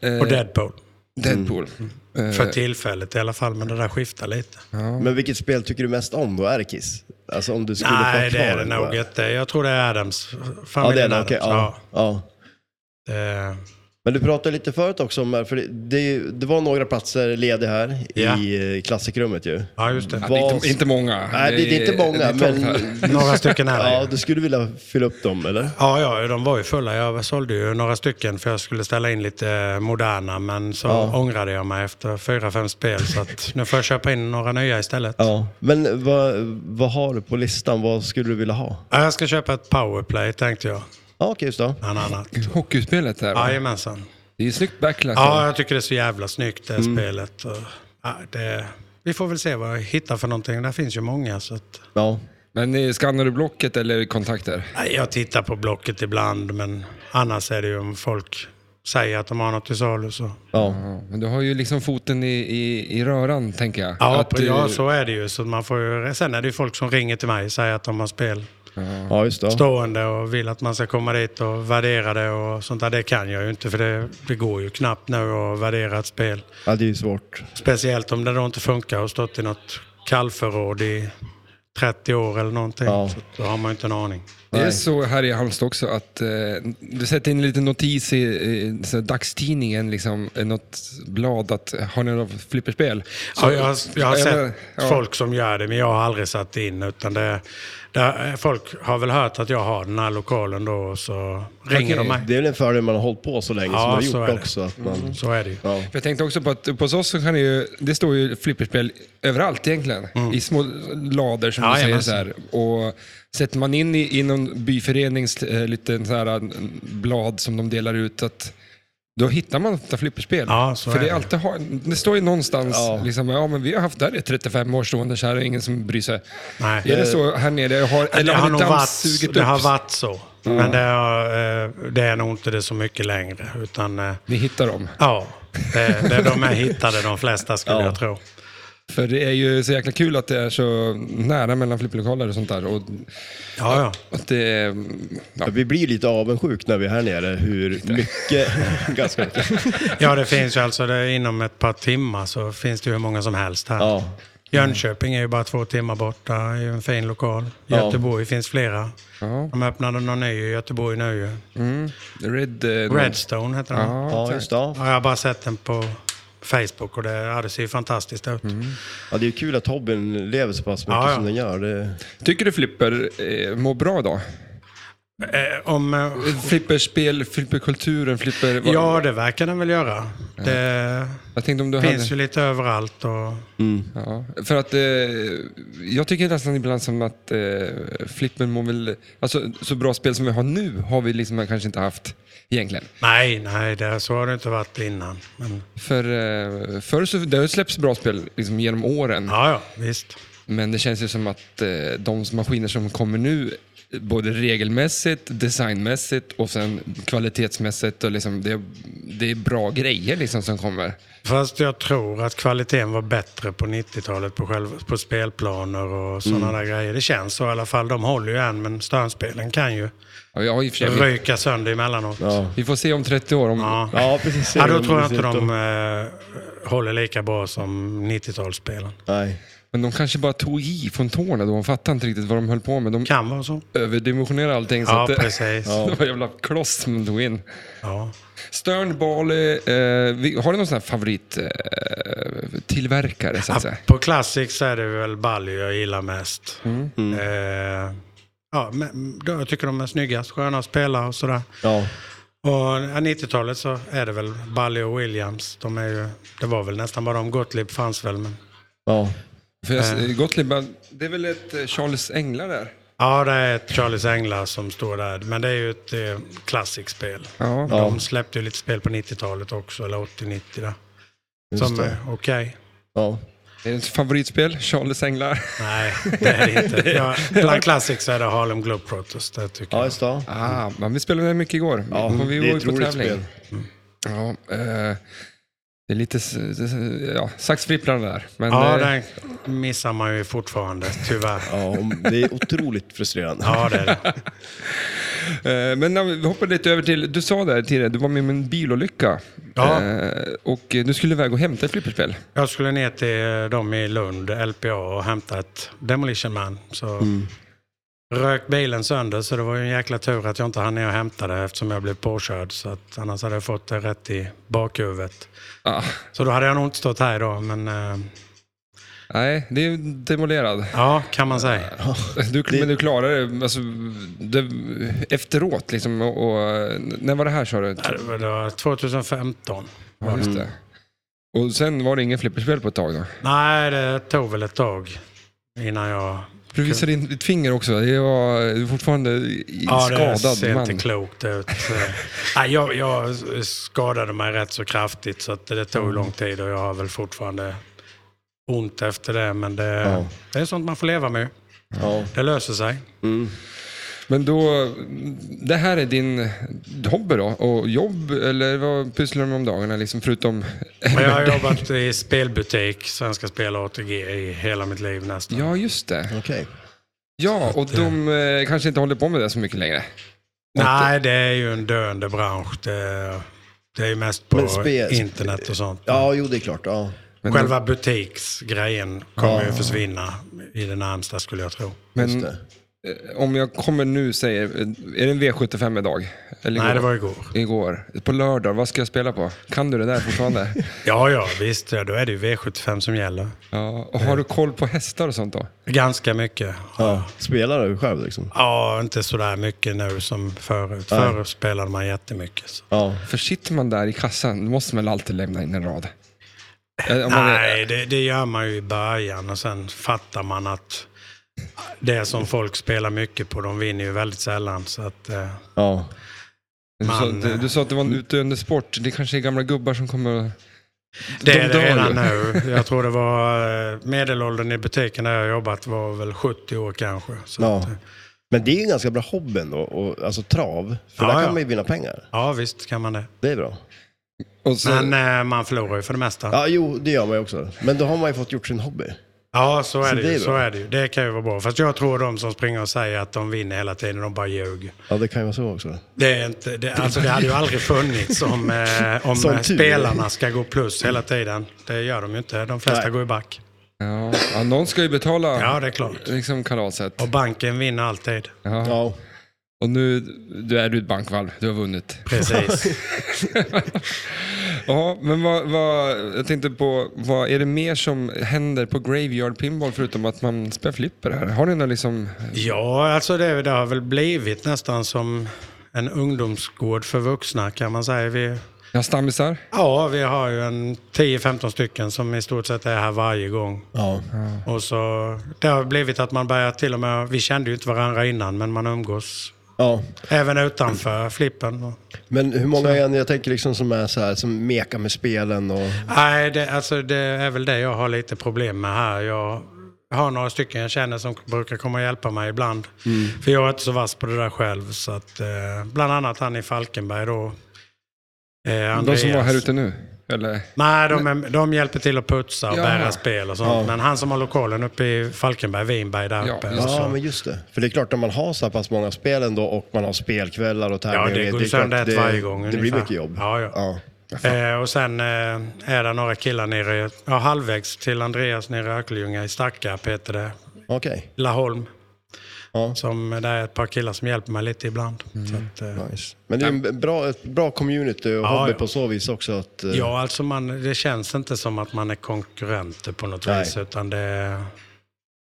Speaker 1: Eh,
Speaker 3: Och Deadpool.
Speaker 1: Deadpool.
Speaker 5: Mm.
Speaker 1: Eh,
Speaker 3: För tillfället i alla fall, men det där skiftar lite.
Speaker 5: Men vilket spel tycker du mest om då? Är det Kiss? Alltså om du skulle få ha
Speaker 3: Nej,
Speaker 5: kvar
Speaker 3: det är det
Speaker 5: den bara.
Speaker 3: nog inte. Jag tror det är Adams.
Speaker 5: Ja, det är
Speaker 3: Familjen
Speaker 5: det.
Speaker 3: Adams.
Speaker 5: Okej, ja. ja.
Speaker 3: Det-
Speaker 5: Men du pratade lite förut också om, för det, det, det var några platser lediga här
Speaker 3: Ja.
Speaker 5: i eh, klassikrummet ju.
Speaker 3: ja, just
Speaker 5: Mm.
Speaker 3: det.
Speaker 1: det är inte, inte många.
Speaker 5: Nej, det, det är inte många,
Speaker 1: det är torrt här.
Speaker 5: men
Speaker 3: Några stycken är det
Speaker 5: ja,
Speaker 3: ju.
Speaker 5: du skulle vilja fylla upp dem eller?
Speaker 3: Ja, ja, de var ju fulla. Jag sålde ju några stycken för jag skulle ställa in lite eh, moderna. Men så
Speaker 5: Ja.
Speaker 3: ångrade jag mig efter fyra, fem spel. Så att nu får jag köpa in några nya istället.
Speaker 5: Ja. Men vad, vad har du på listan? Vad skulle du vilja ha?
Speaker 3: Ja, Jag ska köpa ett powerplay tänkte jag.
Speaker 5: Ja, okej, just det.
Speaker 3: Bland annat.
Speaker 1: Hockeyspelet där, va?
Speaker 3: Jajamensan.
Speaker 1: Det är ju snyggt backlash.
Speaker 3: Ja,
Speaker 1: där.
Speaker 3: jag tycker det Mm. är så jävla snyggt det spelet. Och, ja, det, vi får väl se vad jag hittar för någonting. Där finns ju många. Så att,
Speaker 5: Ja.
Speaker 1: Men eh, skannar du blocket eller kontakter?
Speaker 3: Nej, jag tittar på Blocket ibland, men annars är det ju om folk säger att de har något till salu så.
Speaker 5: Ja.
Speaker 1: Ja, men du har ju liksom foten i, i, i röran, tänker jag.
Speaker 3: Ja,
Speaker 1: Att, eh,
Speaker 3: ja, så är det ju. Så man får ju. Sen är det ju folk som ringer till mig och säger att de har spel
Speaker 5: ja, just det.
Speaker 3: stående och vill att man ska komma dit och värdera det och sånt där. Det kan jag ju inte för det, det går ju knappt nu att värdera ett spel.
Speaker 5: Ja, det är ju svårt.
Speaker 3: Speciellt om det då inte funkar och stått i något kallförråd i 30 år eller någonting.
Speaker 5: Ja.
Speaker 3: Så då har man ju inte en aning.
Speaker 1: Det är
Speaker 5: Nej.
Speaker 1: så här i Halmstad också att eh, du sätter in en liten notis i eh, så här dagstidningen, liksom, eh, något blad att eh, har ni något flipperspel? Så-
Speaker 3: Ja, jag, har- jag har
Speaker 1: Ja,
Speaker 3: sett
Speaker 1: men, ja.
Speaker 3: folk som gör det, men jag har aldrig satt in. Utan det, det, folk har väl hört att jag har den här lokalen då, och så ringer de mig.
Speaker 5: Det är väl en fördel man har hållit på så länge
Speaker 3: Ja,
Speaker 5: som man har
Speaker 3: så
Speaker 5: gjort
Speaker 3: är det. Mm.
Speaker 5: också. Att man,
Speaker 3: Så är det ju.
Speaker 5: ja.
Speaker 1: För Jag tänkte också på att uppe hos oss så kan det ju, det står ju flipperspel överallt egentligen.
Speaker 3: Mm.
Speaker 1: I små lader som du säger.
Speaker 3: Jajamensan.
Speaker 1: Så här. Och sätter man in i, i någon byförenings eh, liten så här, en blad som de delar ut, att då hittar man ofta flipperspel.
Speaker 3: Ja, så
Speaker 1: För
Speaker 3: är
Speaker 1: det,
Speaker 3: det.
Speaker 1: är alltid, har- det står ju någonstans,
Speaker 5: Ja.
Speaker 1: Liksom, ja, men vi har haft det här i 35 år stående så här är ingen som bryr sig.
Speaker 3: Nej.
Speaker 1: Är det så här nere? Har,
Speaker 3: Det
Speaker 1: eller
Speaker 3: har
Speaker 1: har
Speaker 3: nog
Speaker 1: det
Speaker 3: varit,
Speaker 1: dammsugit
Speaker 3: det har
Speaker 1: upp? Mm.
Speaker 3: varit så. Men det, har, eh, det är nog inte det så mycket längre. Utan, eh,
Speaker 1: Ni hittar dem.
Speaker 3: ja, det, det är de jag hittade, de flesta skulle
Speaker 5: Ja.
Speaker 3: jag tro.
Speaker 1: För det är ju så jäkla kul att det är så nära mellan flipperlokaler och sånt där. Och
Speaker 3: Ja, ja.
Speaker 1: Att det, mm, ja.
Speaker 5: Vi blir lite avundsjuk när vi är här nere hur mycket, ganska mycket,
Speaker 3: ja, det finns ju alltså det, inom ett par timmar så finns det ju hur många som helst här.
Speaker 5: ja,
Speaker 3: Jönköping är ju bara två timmar borta, är ju en fin lokal.
Speaker 5: Ja.
Speaker 3: Göteborg finns flera.
Speaker 1: Ja.
Speaker 3: De öppnade någon ny i Göteborg nu ju.
Speaker 1: Red... eh,
Speaker 3: Redstone heter den. Ja.
Speaker 5: ja, just det. Ja.
Speaker 3: jag har bara sett den på Facebook och det, ja, det ser ju fantastiskt ut.
Speaker 5: Ja, det är ju kul att hobbyn lever så pass mycket
Speaker 3: Ja, ja.
Speaker 5: som den gör. Det,
Speaker 1: Tycker du Flipper eh, mår bra idag?
Speaker 3: Eh, om, eh,
Speaker 1: Flipperspel, flipperkulturen, flipper... vad-
Speaker 3: ja, det verkar den väl göra. Det
Speaker 1: Jag tänkte om du
Speaker 3: finns
Speaker 1: hade...
Speaker 3: ju lite överallt. Och,
Speaker 1: Ja, för att eh, jag tycker nästan ibland som att eh, flippen mår väl... Alltså så bra spel som vi har nu har vi liksom kanske inte haft egentligen.
Speaker 3: nej, nej, det, så har det inte varit innan. Men,
Speaker 1: För eh, förr så det har ju släppts bra spel liksom, genom åren.
Speaker 3: ja, ja, visst.
Speaker 1: Men det känns ju som att eh, de maskiner som kommer nu, både regelmässigt, designmässigt och sen kvalitetsmässigt, och liksom, det, det är bra grejer liksom som kommer.
Speaker 3: Fast jag tror att kvaliteten var bättre på 90-talet på, själv, på spelplaner och sådana där grejer. Det känns så i alla fall. De håller ju än, men störnspelen kan ju
Speaker 1: Ja, jag har ju för sig- vi,
Speaker 3: ryka sönder emellanåt. Ja,
Speaker 5: ja.
Speaker 1: vi får se om 30 år. Om,
Speaker 3: ja.
Speaker 5: ja, precis.
Speaker 3: då tror jag inte de eh, håller lika bra som 90-talsspelen.
Speaker 5: Nej.
Speaker 1: Men de kanske bara tog i från tårna då. De fattade inte riktigt vad de höll på med. De
Speaker 3: Kan vara så.
Speaker 1: överdimensionerade allting. så
Speaker 3: Ja,
Speaker 1: att det,
Speaker 3: precis. Ja.
Speaker 1: det var en jävla kloss som de tog in. Stern, Bali, eh, vi- har du någon sån här favorittillverkare? Eh, tillverkare, så att säga?
Speaker 3: På Classic så är det väl Bally jag gillar mest. Eh, ja, men, då, jag tycker de är snyggast, sköna att spela och sådär.
Speaker 5: Ja.
Speaker 3: Och ja, 90-talet så är det väl Bally och Williams. De är ju, det var väl nästan bara de. Gottlieb fanns väl. Men...
Speaker 5: Ja.
Speaker 1: För jag,
Speaker 3: Eh.
Speaker 1: Gottlieb, det är väl ett eh, Charles Englar där?
Speaker 3: Ja, det är ett Charlies Änglar som står där. Men det är ju ett eh, klassikspel.
Speaker 1: Ja.
Speaker 3: De släppte ju lite spel på 90-talet också, eller 80-90 där. Som
Speaker 5: det.
Speaker 3: är okej.
Speaker 5: ja.
Speaker 1: Det är ett favoritspel, Charles Änglar.
Speaker 3: Nej, det är det inte. Ja, bland Classics är det Harlem Globetrotters. Det tycker
Speaker 5: Ja,
Speaker 3: jag.
Speaker 5: just det.
Speaker 1: Ah, men vi spelade det mycket igår.
Speaker 5: Ja,
Speaker 1: Men
Speaker 5: det
Speaker 1: vi
Speaker 5: är
Speaker 1: var ju
Speaker 5: ett
Speaker 1: på
Speaker 5: roligt
Speaker 1: tävling.
Speaker 5: spel.
Speaker 1: Ja, eh, det är lite s- s- ja, saxfripplande där. Men,
Speaker 3: Ja,
Speaker 1: eh,
Speaker 3: den missar man ju fortfarande, tyvärr.
Speaker 5: Ja, och det är otroligt frustrerande.
Speaker 3: Ja, det är det.
Speaker 1: eh, men när vi vi hoppar lite över till, du sa där tidigare, du var med om en bilolycka.
Speaker 3: Ja.
Speaker 1: Eh, och eh, du skulle iväg och hämta ett flipperspel.
Speaker 3: Jag skulle ner till eh, dem i Lund, LPA, och hämta ett Demolition Man. Så rök bilen sönder, så det var ju en jäkla tur att jag inte hann ner och hämta det eftersom jag blev påkörd. Så att, annars hade jag fått det rätt i bakhuvudet.
Speaker 1: Ah,
Speaker 3: Så då hade jag nog inte stått här idag, men eh,
Speaker 1: nej, det är ju demolerad.
Speaker 3: ja, kan man säga.
Speaker 1: Du, Men du klarade det, alltså, det efteråt. Liksom, och, och, när var det här sa
Speaker 5: Mm.
Speaker 1: du?
Speaker 3: Ja, Det var- det var 2015.
Speaker 1: Ja, just det. Och sen var det ingen flipperspel på ett tag då?
Speaker 3: Nej, det tog väl ett tag innan jag...
Speaker 1: Du visade in ditt finger också. Det var du är fortfarande i-
Speaker 3: det
Speaker 1: skadad
Speaker 3: ser
Speaker 1: man.
Speaker 3: inte klokt ut. Eh, Nej, jag, jag skadade mig rätt så kraftigt så att det tog lång tid och jag har väl fortfarande ont efter det. Men det,
Speaker 5: Ja.
Speaker 3: det är sånt man får leva med.
Speaker 5: Ja.
Speaker 3: Det löser sig.
Speaker 1: Men då, det här är din hobby då? Och jobb, eller vad pysslar du med om dagarna? Liksom, förutom...
Speaker 3: Men jag har jobbat i spelbutik, Svenska Spel och ATG i hela mitt liv nästan.
Speaker 1: Ja, just det.
Speaker 5: Okej.
Speaker 1: Ja, och de eh, kanske inte håller på med det så mycket längre.
Speaker 3: Nej, det är ju en döende bransch. Det, det är ju mest på
Speaker 5: Men spel-
Speaker 3: internet och sånt.
Speaker 5: Ja, jo, det är klart. Ja.
Speaker 1: Men,
Speaker 3: Själva butiksgrejen kommer ju försvinna i det närmsta skulle jag tro.
Speaker 1: men
Speaker 5: Just det.
Speaker 1: eh, om jag kommer nu säger, eh, är det en V75 idag? Eller
Speaker 3: Nej, det
Speaker 1: igår?
Speaker 3: var igår.
Speaker 1: Igår. På lördag, vad ska jag spela på? Kan du det där fortfarande?
Speaker 3: Ja, ja, visst. Ja, då är det ju V75 som gäller.
Speaker 1: ja, och har du koll på hästar och sånt då?
Speaker 3: Ganska mycket.
Speaker 5: Ja. Spelar du själv liksom?
Speaker 3: Ja, inte sådär mycket nu som förut.
Speaker 5: Nej.
Speaker 3: Förut spelade man jättemycket. Så.
Speaker 5: Ja.
Speaker 1: För sitter man där i kassan, då måste man väl alltid lämna in en rad? Eh, om man-
Speaker 3: Nej, det, det gör man ju i början och sen fattar man att det som folk spelar mycket på, de vinner ju väldigt sällan. Så att, eh,
Speaker 5: ja.
Speaker 1: Du sa,
Speaker 3: Man,
Speaker 1: du, du sa att det var en utdöende sport. Det kanske är gamla gubbar som kommer och...
Speaker 3: det är
Speaker 1: dör ju.
Speaker 3: det redan nu. Jag tror det var eh, medelåldern i butiken där jag jobbat var väl 70 år kanske. Så
Speaker 5: Ja.
Speaker 3: att, eh,
Speaker 5: Men det är ju en ganska bra hobby ändå, och, alltså trav. För
Speaker 3: Ja,
Speaker 5: där kan
Speaker 3: ja.
Speaker 5: man ju vinna pengar.
Speaker 3: ja, visst kan man det.
Speaker 5: Det är bra.
Speaker 1: och så,
Speaker 3: Men eh, man förlorar ju för det mesta.
Speaker 5: Ja, jo, det gör man ju också. Men då har man ju fått gjort sin hobby.
Speaker 3: Ja, så är,
Speaker 5: Så
Speaker 3: det
Speaker 5: det är
Speaker 3: ju,
Speaker 5: bra.
Speaker 3: så är det ju. Det kan ju vara bra. Fast jag tror de som springer och säger att de vinner hela tiden, de bara ljuger.
Speaker 5: Ja, det kan ju vara så också.
Speaker 3: Det, är inte, det, alltså, det hade ju aldrig funnits om, eh, om
Speaker 5: Som
Speaker 3: eh,
Speaker 5: tur.
Speaker 3: spelarna ska gå plus hela tiden. Det gör de ju inte. De flesta
Speaker 5: Nej.
Speaker 3: går ju back.
Speaker 1: ja, ja, någon ska ju betala
Speaker 3: Ja, det är klart.
Speaker 1: liksom kalaset.
Speaker 3: Och banken vinner alltid.
Speaker 1: Ja.
Speaker 5: Ja,
Speaker 1: Och nu du är du ett bankvalv, du har vunnit.
Speaker 3: Precis.
Speaker 1: Ja, men vad, vad, jag tänkte på, vad är det mer som händer på Graveyard Pinball förutom att man spelar flipper här? Har ni någon liksom...
Speaker 3: ja, alltså det, det har väl blivit nästan som en ungdomsgård för vuxna kan man säga. Vi,
Speaker 1: Ja, stammisar?
Speaker 3: ja, vi har ju en 10-15 stycken som i stort sett är här varje gång.
Speaker 5: ja.
Speaker 3: Och så, det har blivit att man börjar till och med, vi kände ju inte varandra innan, men man umgås
Speaker 5: ja.
Speaker 3: även utanför flippen.
Speaker 5: Men hur många är ni, jag tänker liksom som är så här, som mekar med spelen och...
Speaker 3: Nej, det, alltså, det är väl det jag har lite problem med här. Jag har några stycken jag känner som brukar komma och hjälpa mig ibland.
Speaker 1: Mm.
Speaker 3: För jag är inte så vass på det där själv. Så att, eh, bland annat han i Falkenberg då. Eh,
Speaker 1: De som
Speaker 3: Andreas.
Speaker 1: var här ute nu? Eller?
Speaker 3: Nej, de, är, de hjälper till att putsa och
Speaker 1: Ja.
Speaker 3: bära spel och sånt.
Speaker 5: Ja.
Speaker 3: Men han som har lokalen uppe i Falkenberg, Vinberg där
Speaker 1: Ja,
Speaker 3: uppe.
Speaker 1: just
Speaker 3: så-
Speaker 5: Ja, men just det. Alltså. För det är klart, när man har så här pass många spel ändå och man har spelkvällar och tävlingar.
Speaker 3: Ja, det går
Speaker 5: är
Speaker 3: ju sönder
Speaker 5: klart,
Speaker 3: ett varje gång
Speaker 5: Det blir
Speaker 3: ungefär.
Speaker 5: mycket jobb.
Speaker 3: Ja, ja.
Speaker 5: ja.
Speaker 3: Eh, och sen eh, är det några killar nere, ja, halvvägs till Andreas nere i Örkelljunga i Stackarp heter det,
Speaker 5: Okej.
Speaker 3: Laholm.
Speaker 5: Ja.
Speaker 3: Som, det är ett par killar som hjälper mig lite ibland.
Speaker 5: Mm.
Speaker 3: Så att, eh,
Speaker 5: Nice. Men det är en bra, ett bra community och
Speaker 3: Ja,
Speaker 5: hobby
Speaker 3: ja.
Speaker 5: på så vis också. Att, eh,
Speaker 3: ja, alltså man, det känns inte som att man är konkurrenter på något
Speaker 5: Nej.
Speaker 3: vis, utan det,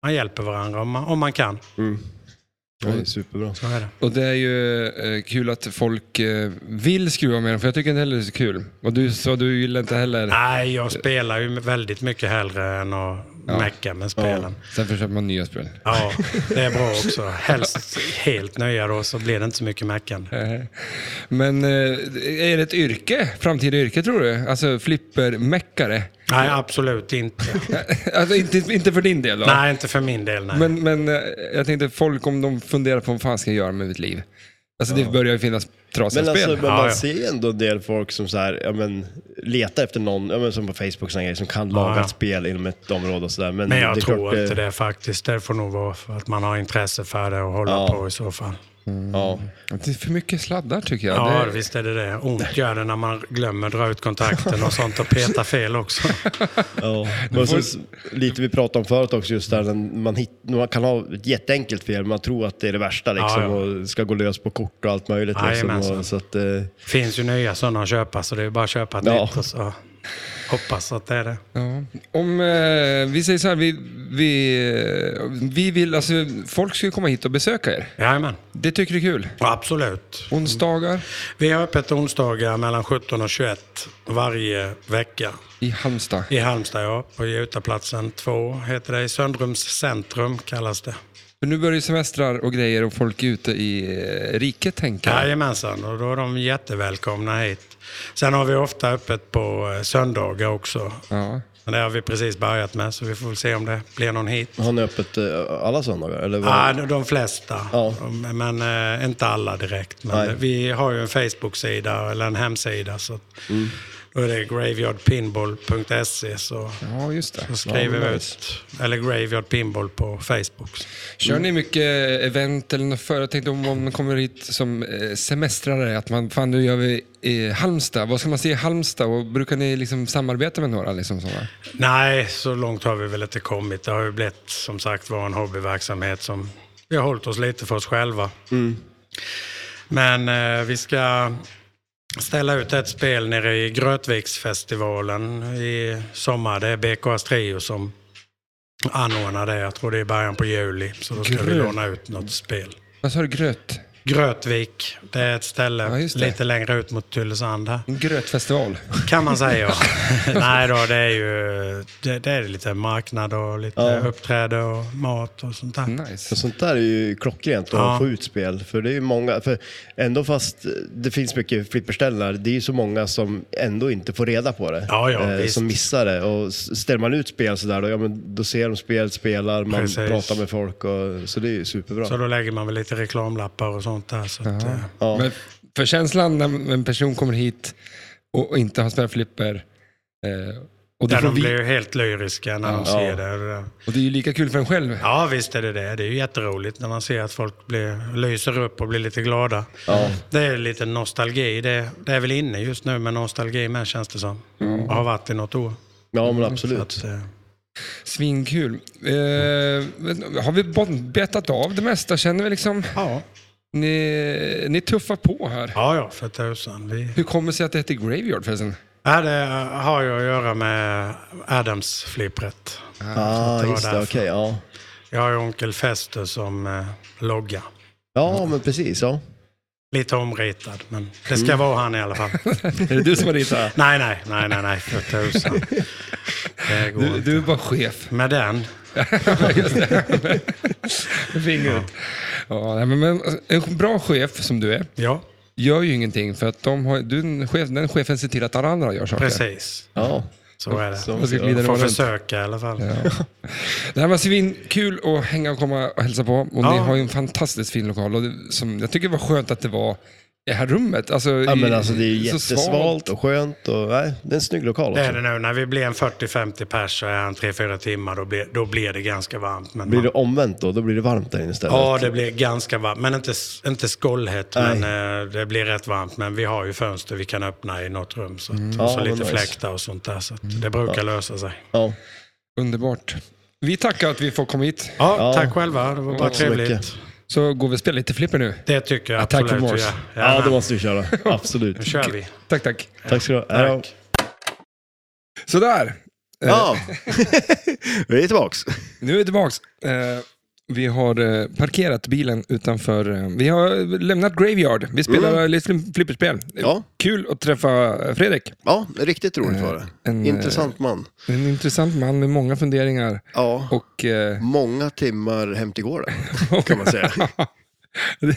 Speaker 3: man hjälper varandra om man, om man kan.
Speaker 5: Mm. Ja, det är superbra.
Speaker 3: Så är det.
Speaker 1: Och det är ju eh, kul att folk eh, vill skruva med dem, för jag tycker inte heller det är så kul. Och du sa du gillar inte heller...
Speaker 3: Nej, jag spelar ju väldigt mycket hellre än att mecka med spelen.
Speaker 1: Sen försöker man nya spel.
Speaker 3: Ja, det är bra också. Helst helt nya då, så blir det inte så mycket meckande.
Speaker 1: Nej. Men eh, är det ett yrke? Framtida yrke tror du? Alltså flippermäckare?
Speaker 3: Nej, absolut inte.
Speaker 1: Alltså, inte, inte för din del då?
Speaker 3: Nej, inte för min del. Nej.
Speaker 1: Men, men eh, jag tänkte folk om de funderar på vad fan ska jag göra med mitt liv? Alltså det börjar ju finnas trasiga
Speaker 5: Men alltså,
Speaker 1: spel.
Speaker 5: men
Speaker 3: Ja,
Speaker 5: man
Speaker 3: ja.
Speaker 5: ser ju ändå en del folk som så här, ja, men, letar efter någon, ja, men, som på Facebook, och såna grejer, som kan laga
Speaker 3: ja.
Speaker 5: ett spel inom ett område och sådär. Men,
Speaker 3: men jag
Speaker 5: det är
Speaker 3: tror
Speaker 5: klart, eh,
Speaker 3: inte det faktiskt. Det får nog vara för att man har intresse för det och hålla
Speaker 5: Ja.
Speaker 3: på i så fall.
Speaker 5: Ja.
Speaker 1: Det är för mycket sladdar tycker jag.
Speaker 3: Ja,
Speaker 1: det...
Speaker 3: visst är det det. Ont gör det när man glömmer dra ut kontakten och sånt och peta fel också.
Speaker 5: Ja. Och så, lite vi pratade om förut också, just där den- man, hit, man kan ha ett jätteenkelt fel, man tror att det är det värsta liksom,
Speaker 3: Ja, ja.
Speaker 5: och ska gå lös på kort och allt möjligt. Liksom,
Speaker 3: Jajamensan.
Speaker 5: och, så att, eh,
Speaker 3: finns ju nya sådana att köpa, så det är bara att köpa ett
Speaker 5: Ja.
Speaker 3: nytt och så hoppas att det är det.
Speaker 1: Ja. Om eh, vi säger så här, vi, vi, eh, vi vill, alltså folk ska ju komma hit och besöka er.
Speaker 3: Jajamän,
Speaker 1: Det tycker du är kul.
Speaker 3: absolut.
Speaker 1: Onsdagar
Speaker 3: Vi har öppet onsdagar mellan 17 och 21 varje vecka.
Speaker 1: i Halmstad.
Speaker 3: I Halmstad, ja. På Jutaplatsen 2 heter det. I Söndrums centrum kallas det.
Speaker 1: För nu börjar ju semestrar och grejer och folk är ute i eh, riket tänker jag.
Speaker 3: Jajamensan, och då är de jättevälkomna hit. Sen har vi ofta öppet på eh, söndagar också.
Speaker 1: Ja.
Speaker 3: Men det har vi precis börjat med, så vi får väl se om det blir någon hit.
Speaker 5: har ni öppet eh, alla söndagar? Eller vad?
Speaker 3: Ja, de- de flesta,
Speaker 5: Ja.
Speaker 3: De- men eh, inte alla direkt. Men
Speaker 5: Nej.
Speaker 3: vi har ju en Facebook-sida eller en hemsida. Så
Speaker 5: Mm.
Speaker 3: Då är det graveyardpinball.se. Så,
Speaker 1: ja, just det.
Speaker 3: så skriver
Speaker 5: Ja,
Speaker 3: vi
Speaker 5: nice.
Speaker 3: ut, eller Graveyard Pinball på Facebook.
Speaker 1: Kör ni mycket eh, event eller något för? Jag tänkte om om man kommer hit som eh, semestrare, att man, fan nu gör vi i Halmstad, vad ska man se i Halmstad? Och brukar ni liksom samarbeta med några? Liksom sådana?
Speaker 3: Nej, så långt har vi väl inte kommit. Det har ju blivit som sagt var en hobbyverksamhet som Vi har hållit oss lite för oss själva.
Speaker 1: Mm.
Speaker 3: Men eh, vi ska ställa ut ett spel nere i Grötviksfestivalen i sommar. Det är BKS Trio som anordnar det. Jag tror det är i början på juli. Så då ska vi
Speaker 1: Gröt-
Speaker 3: låna ut något spel.
Speaker 1: Vad sa du? Gröt?
Speaker 3: Grötvik, det är ett ställe
Speaker 1: Ja, just det.
Speaker 3: lite längre ut mot Tylösand. här.
Speaker 1: En grötfestival.
Speaker 3: Kan man säga. Nej då, det är ju det, det är lite marknad och lite
Speaker 5: Ja.
Speaker 3: uppträde och mat och sånt där.
Speaker 5: För
Speaker 1: Nice.
Speaker 5: sånt där är ju klockrent att
Speaker 3: Ja.
Speaker 5: få ut spel. För det är ju många, för ändå fast det finns mycket flipperställen, det är ju så många som ändå inte får reda på det. Eh,
Speaker 3: Ja, ja, visst.
Speaker 5: som missar det. Och s- ställer man ut spel sådär, då, ja, men då ser de spel, spelar, man
Speaker 3: Precis.
Speaker 5: pratar med folk. Och, så det är ju superbra.
Speaker 3: Så då lägger man väl lite reklamlappar och sånt där. Så att, eh,
Speaker 5: ja.
Speaker 1: Men för känslan när en person kommer hit och inte har spelat flipper. Eh, och, det
Speaker 3: där
Speaker 1: får
Speaker 3: de
Speaker 1: vi,
Speaker 3: blir ju helt lyriska när de ser det.
Speaker 1: och det är ju lika kul för en själv.
Speaker 3: Ja, visst är det det. Det är ju jätteroligt när man ser att folk blir, lyser upp och blir lite glada.
Speaker 5: Ja.
Speaker 3: Det är lite nostalgi. Det, det är väl inne just nu med nostalgi med känns det som. Och har varit i något år.
Speaker 5: ja, men
Speaker 3: Så
Speaker 5: absolut.
Speaker 3: att, eh,
Speaker 1: Svinkul. Eh, men har vi bon- betat av det mesta känner vi liksom?
Speaker 3: ja.
Speaker 1: Ni, ni tuffar på här.
Speaker 3: ja, ja, för tusan. Vi...
Speaker 1: Hur kommer det sig att det heter Graveyard förresten?
Speaker 3: Ja, det har ju att göra med Adams-flippret.
Speaker 5: ah,
Speaker 3: det var
Speaker 5: just det. Okej,
Speaker 3: därför.
Speaker 5: ja.
Speaker 3: Jag har ju onkel Fester som eh, logga.
Speaker 5: Ja, men precis. Ja.
Speaker 3: Lite omritad, men det ska vara han i alla fall.
Speaker 1: Är det du som har ritat?
Speaker 3: nej, nej, nej, nej, nej, för tusan. Det går
Speaker 1: Du,
Speaker 3: inte.
Speaker 1: du är bara chef.
Speaker 3: Med den?
Speaker 1: Just det. Med Fingret. Ja, nej, men, men en bra chef som du är
Speaker 3: Ja,
Speaker 1: gör ju ingenting för att de har, du, den chef, den chefen ser till att alla andra gör saker.
Speaker 3: precis.
Speaker 5: Ja.
Speaker 3: Så är det.
Speaker 5: Så-
Speaker 1: Jag ska glida
Speaker 3: Får
Speaker 1: dem runt.
Speaker 3: försöka i alla fall.
Speaker 1: Det här var svinkul att hänga och komma och hälsa på. Och ni
Speaker 3: Ja.
Speaker 1: har ju en fantastiskt fin lokal. Och det, som, jag tycker det var skönt att det var i det här rummet. Alltså,
Speaker 5: ja,
Speaker 1: i-
Speaker 5: men alltså det är ju
Speaker 1: så
Speaker 5: jättesvalt och skönt. Och, nej, det är en snygg lokal
Speaker 3: Det
Speaker 5: också.
Speaker 3: är det nu. När vi blir en 40-50 pers så är han 3-4 timmar, då blir, då blir det ganska varmt. Men
Speaker 5: Blir
Speaker 3: man-
Speaker 5: det omvänt då? Då blir det varmt där inne istället.
Speaker 3: Ja, det blir ganska varmt. Men inte, inte skållhett,
Speaker 5: Nej.
Speaker 3: men eh, det blir rätt varmt. Men vi har ju fönster vi kan öppna i något rum. Så, att,
Speaker 5: Mm. Ja,
Speaker 3: och så
Speaker 5: vad
Speaker 3: lite
Speaker 5: nice. Mm.
Speaker 3: fläktar och sånt där. Så att det brukar lösa sig.
Speaker 5: ja.
Speaker 1: Underbart. Vi tackar att vi får komma hit.
Speaker 3: Ja,
Speaker 5: Ja.
Speaker 3: Tack själva, det var bara
Speaker 5: så mycket.
Speaker 3: trevligt.
Speaker 1: Så går vi och spelar lite flipper nu.
Speaker 3: Det tycker jag
Speaker 1: Attack
Speaker 3: absolut.
Speaker 1: from
Speaker 3: vi
Speaker 1: Mars.
Speaker 3: gör.
Speaker 5: Ja,
Speaker 3: Jajamän.
Speaker 5: det måste vi köra. Absolut.
Speaker 3: Nu kör vi.
Speaker 1: Tack, tack.
Speaker 5: Tack ska du ha. Hej då.
Speaker 1: Sådär.
Speaker 2: Ja, vi är tillbaks.
Speaker 1: Nu är vi tillbaks. Eh, vi har eh, parkerat bilen utanför. Eh, vi har lämnat Graveyard. Vi spelar
Speaker 5: Mm.
Speaker 1: lite flipperspel. Eh,
Speaker 2: Ja.
Speaker 1: Kul att träffa eh, Fredrik.
Speaker 2: Ja, riktigt roligt var det.
Speaker 1: En, eh,
Speaker 2: Intressant man.
Speaker 1: En intressant man med många funderingar.
Speaker 2: Ja,
Speaker 1: Och, eh,
Speaker 2: många timmar hem till gården, kan man säga.
Speaker 1: det,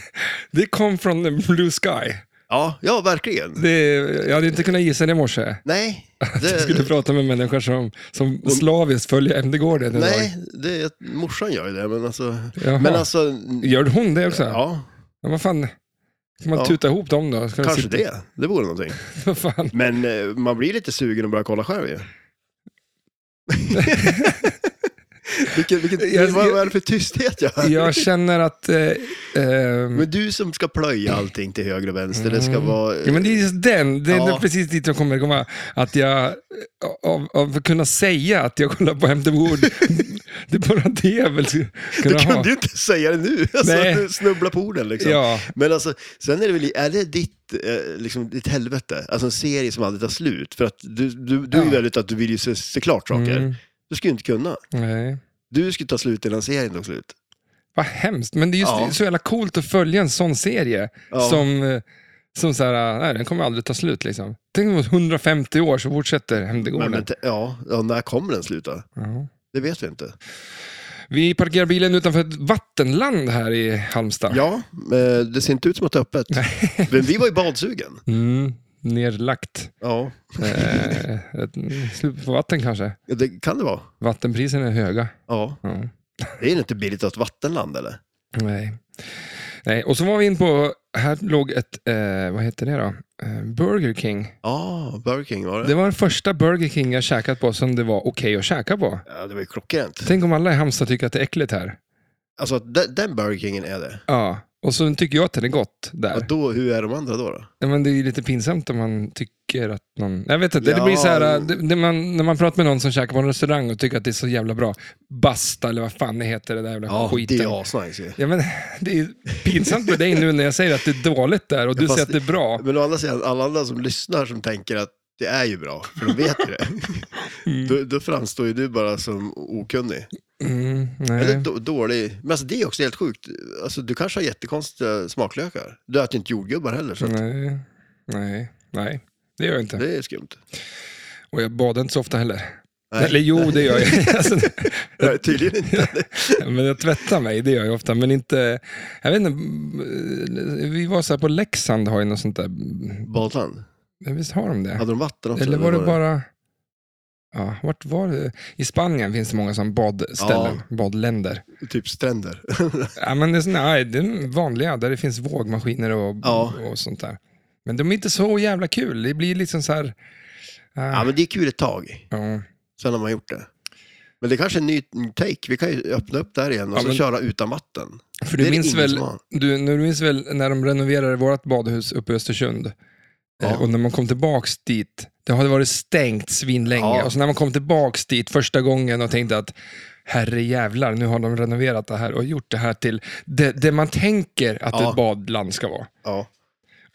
Speaker 1: det kom från the blue sky.
Speaker 2: Ja, ja verkligen.
Speaker 1: Det, jag hade inte kunnat gissa det i morse.
Speaker 2: Nej,
Speaker 1: Jag skulle
Speaker 2: det,
Speaker 1: prata med människor som, som slaviskt följer MD-gården.
Speaker 2: nej det, morsan gör ju det, men alltså...
Speaker 1: Jaha.
Speaker 2: Men alltså,
Speaker 1: Gör hon det också?
Speaker 2: ja,
Speaker 1: Ja, vad fan, kan man
Speaker 2: Ja.
Speaker 1: tuta ihop dem då? Ska de
Speaker 2: kanske
Speaker 1: sitta-
Speaker 2: det. Det vore någonting.
Speaker 1: Vad fan?
Speaker 2: Men eh, man blir lite sugen att börja kolla själv ju. vilken, vilken,
Speaker 1: Jag-
Speaker 2: vad vad är det för tysthet jag hör?
Speaker 1: Jag känner att... Eh, eh,
Speaker 2: Men du som ska plöja allting till höger och vänster, det ska vara...
Speaker 1: Mm. ja, men det är just den, det är
Speaker 2: Ja.
Speaker 1: precis dit jag kommer komma. Att jag, eh, av, av att kunna säga att jag kollar på MD Wood, det är bara det jag vill kunna
Speaker 2: Då
Speaker 1: ha.
Speaker 2: kan du ju inte säga det nu, alltså,
Speaker 1: Nej.
Speaker 2: du snubbla på orden liksom.
Speaker 1: Ja.
Speaker 2: Men alltså, sen är det väl, är det ditt, eh, liksom, ditt helvete? Alltså en serie som aldrig tar slut, för att du, du, du är
Speaker 1: Ja.
Speaker 2: ju väldigt att du vill ju se, se klart saker.
Speaker 1: Mm.
Speaker 2: Du ska ju inte kunna.
Speaker 1: Nej.
Speaker 2: Du ska ta slut innan serien tog slut.
Speaker 1: Vad hemskt, men det är just
Speaker 2: Ja.
Speaker 1: så jävla coolt att följa en sån serie
Speaker 2: Ja.
Speaker 1: som, eh, som så här, eh, nej, den kommer aldrig ta slut. Liksom. Tänk om 150 år så fortsätter
Speaker 2: Men,
Speaker 1: Hemdegården.
Speaker 2: men, te- ja, ja, när kommer den sluta?
Speaker 1: Ja.
Speaker 2: Det vet vi inte.
Speaker 1: Vi parkerar bilen utanför ett vattenland här i Halmstad.
Speaker 2: Ja, eh, det ser inte ut som att det är öppet. Men vi var ju badsugen.
Speaker 1: Mm, nerlagt.
Speaker 2: Ja,
Speaker 1: Eh, ett slut på vatten kanske.
Speaker 2: det kan det vara.
Speaker 1: Vattenpriserna är höga.
Speaker 2: Ja.
Speaker 1: Ja.
Speaker 2: Det är ju inte billigt att ha ett vattenland eller?
Speaker 1: Nej. nej. Och så var vi in på, här låg ett, eh, vad heter det då? Eh, Burger King.
Speaker 2: Ja, Burger King var det.
Speaker 1: Det var den första Burger King jag käkat på som det var okej att käka på.
Speaker 2: Ja, det var ju klockrent.
Speaker 1: Tänk om alla i Halmstad tycker att det är äckligt här.
Speaker 2: Alltså att de- den Burger Kingen är det.
Speaker 1: Ja, och så tycker jag att det är gott
Speaker 2: Ja,
Speaker 1: där.
Speaker 2: då, hur är de andra då? då?
Speaker 1: Ja, Men det är ju lite pinsamt om man tycker tycker att någon... Jag vet inte, det
Speaker 2: Ja.
Speaker 1: blir så här, äh, det, det man, när man pratar med någon som käkar på en restaurang och tycker att det är så jävla bra. Basta eller vad fan det heter, det där jävla
Speaker 2: Ja,
Speaker 1: skiten.
Speaker 2: det är asnice ju.
Speaker 1: Ja, men, det är pinsamt för dig nu när jag säger att det är dåligt där och du
Speaker 2: fast
Speaker 1: säger att det är bra.
Speaker 2: Men å andra sidan, alla andra som lyssnar som tänker att det är ju bra, för de vet ju det. då, då framstår ju du bara som okunnig.
Speaker 1: Mm, nej.
Speaker 2: Eller då, dålig. Men alltså det är också helt sjukt. Alltså, du kanske har jättekonstiga smaklökar. Du äter ju inte jordgubbar heller, så att
Speaker 1: nej, nej, nej. Det gör jag inte.
Speaker 2: det är skumt.
Speaker 1: Och jag badar inte så ofta heller.
Speaker 2: Nej.
Speaker 1: Eller jo, det gör jag. Alltså,
Speaker 2: Nej, Eh, tydligen inte.
Speaker 1: men jag tvättar mig, det gör jag ofta. Men inte, jag vet inte, vi var så här på Leksand har ju något sånt där.
Speaker 2: Badland?
Speaker 1: Visst har de det?
Speaker 2: Hade de vatten också?
Speaker 1: Eller var det bara... Ja, vart var det? I Spanien finns det många som badställen, badländer.
Speaker 2: Typ stränder.
Speaker 1: Ja, men det, är såna- nej, det är vanliga, där det finns vågmaskiner och,
Speaker 2: Ja.
Speaker 1: och sånt där. Men de är inte så jävla kul. Det blir liksom så här...
Speaker 2: ja,
Speaker 1: ah,
Speaker 2: men det är kul ett tag.
Speaker 1: ja.
Speaker 2: Sen har man gjort det. Men det är kanske är en ny ny take. Vi kan ju öppna upp där igen och
Speaker 1: Ja,
Speaker 2: så
Speaker 1: men-
Speaker 2: köra utan vatten.
Speaker 1: För
Speaker 2: det
Speaker 1: du
Speaker 2: är det
Speaker 1: minns,
Speaker 2: ingen
Speaker 1: väl,
Speaker 2: som har.
Speaker 1: du, nu- du minns väl när de renoverade vårt badhus uppe i Östersund?
Speaker 2: Ja.
Speaker 1: Eh, Och när man kom tillbaks dit, det hade varit stängt svinlänge.
Speaker 2: Ja.
Speaker 1: Och så när man kom tillbaks dit första gången och tänkte att herre jävlar, nu har de renoverat det här och gjort det här till det, det man tänker att
Speaker 2: Ja.
Speaker 1: ett badland ska vara.
Speaker 2: Ja.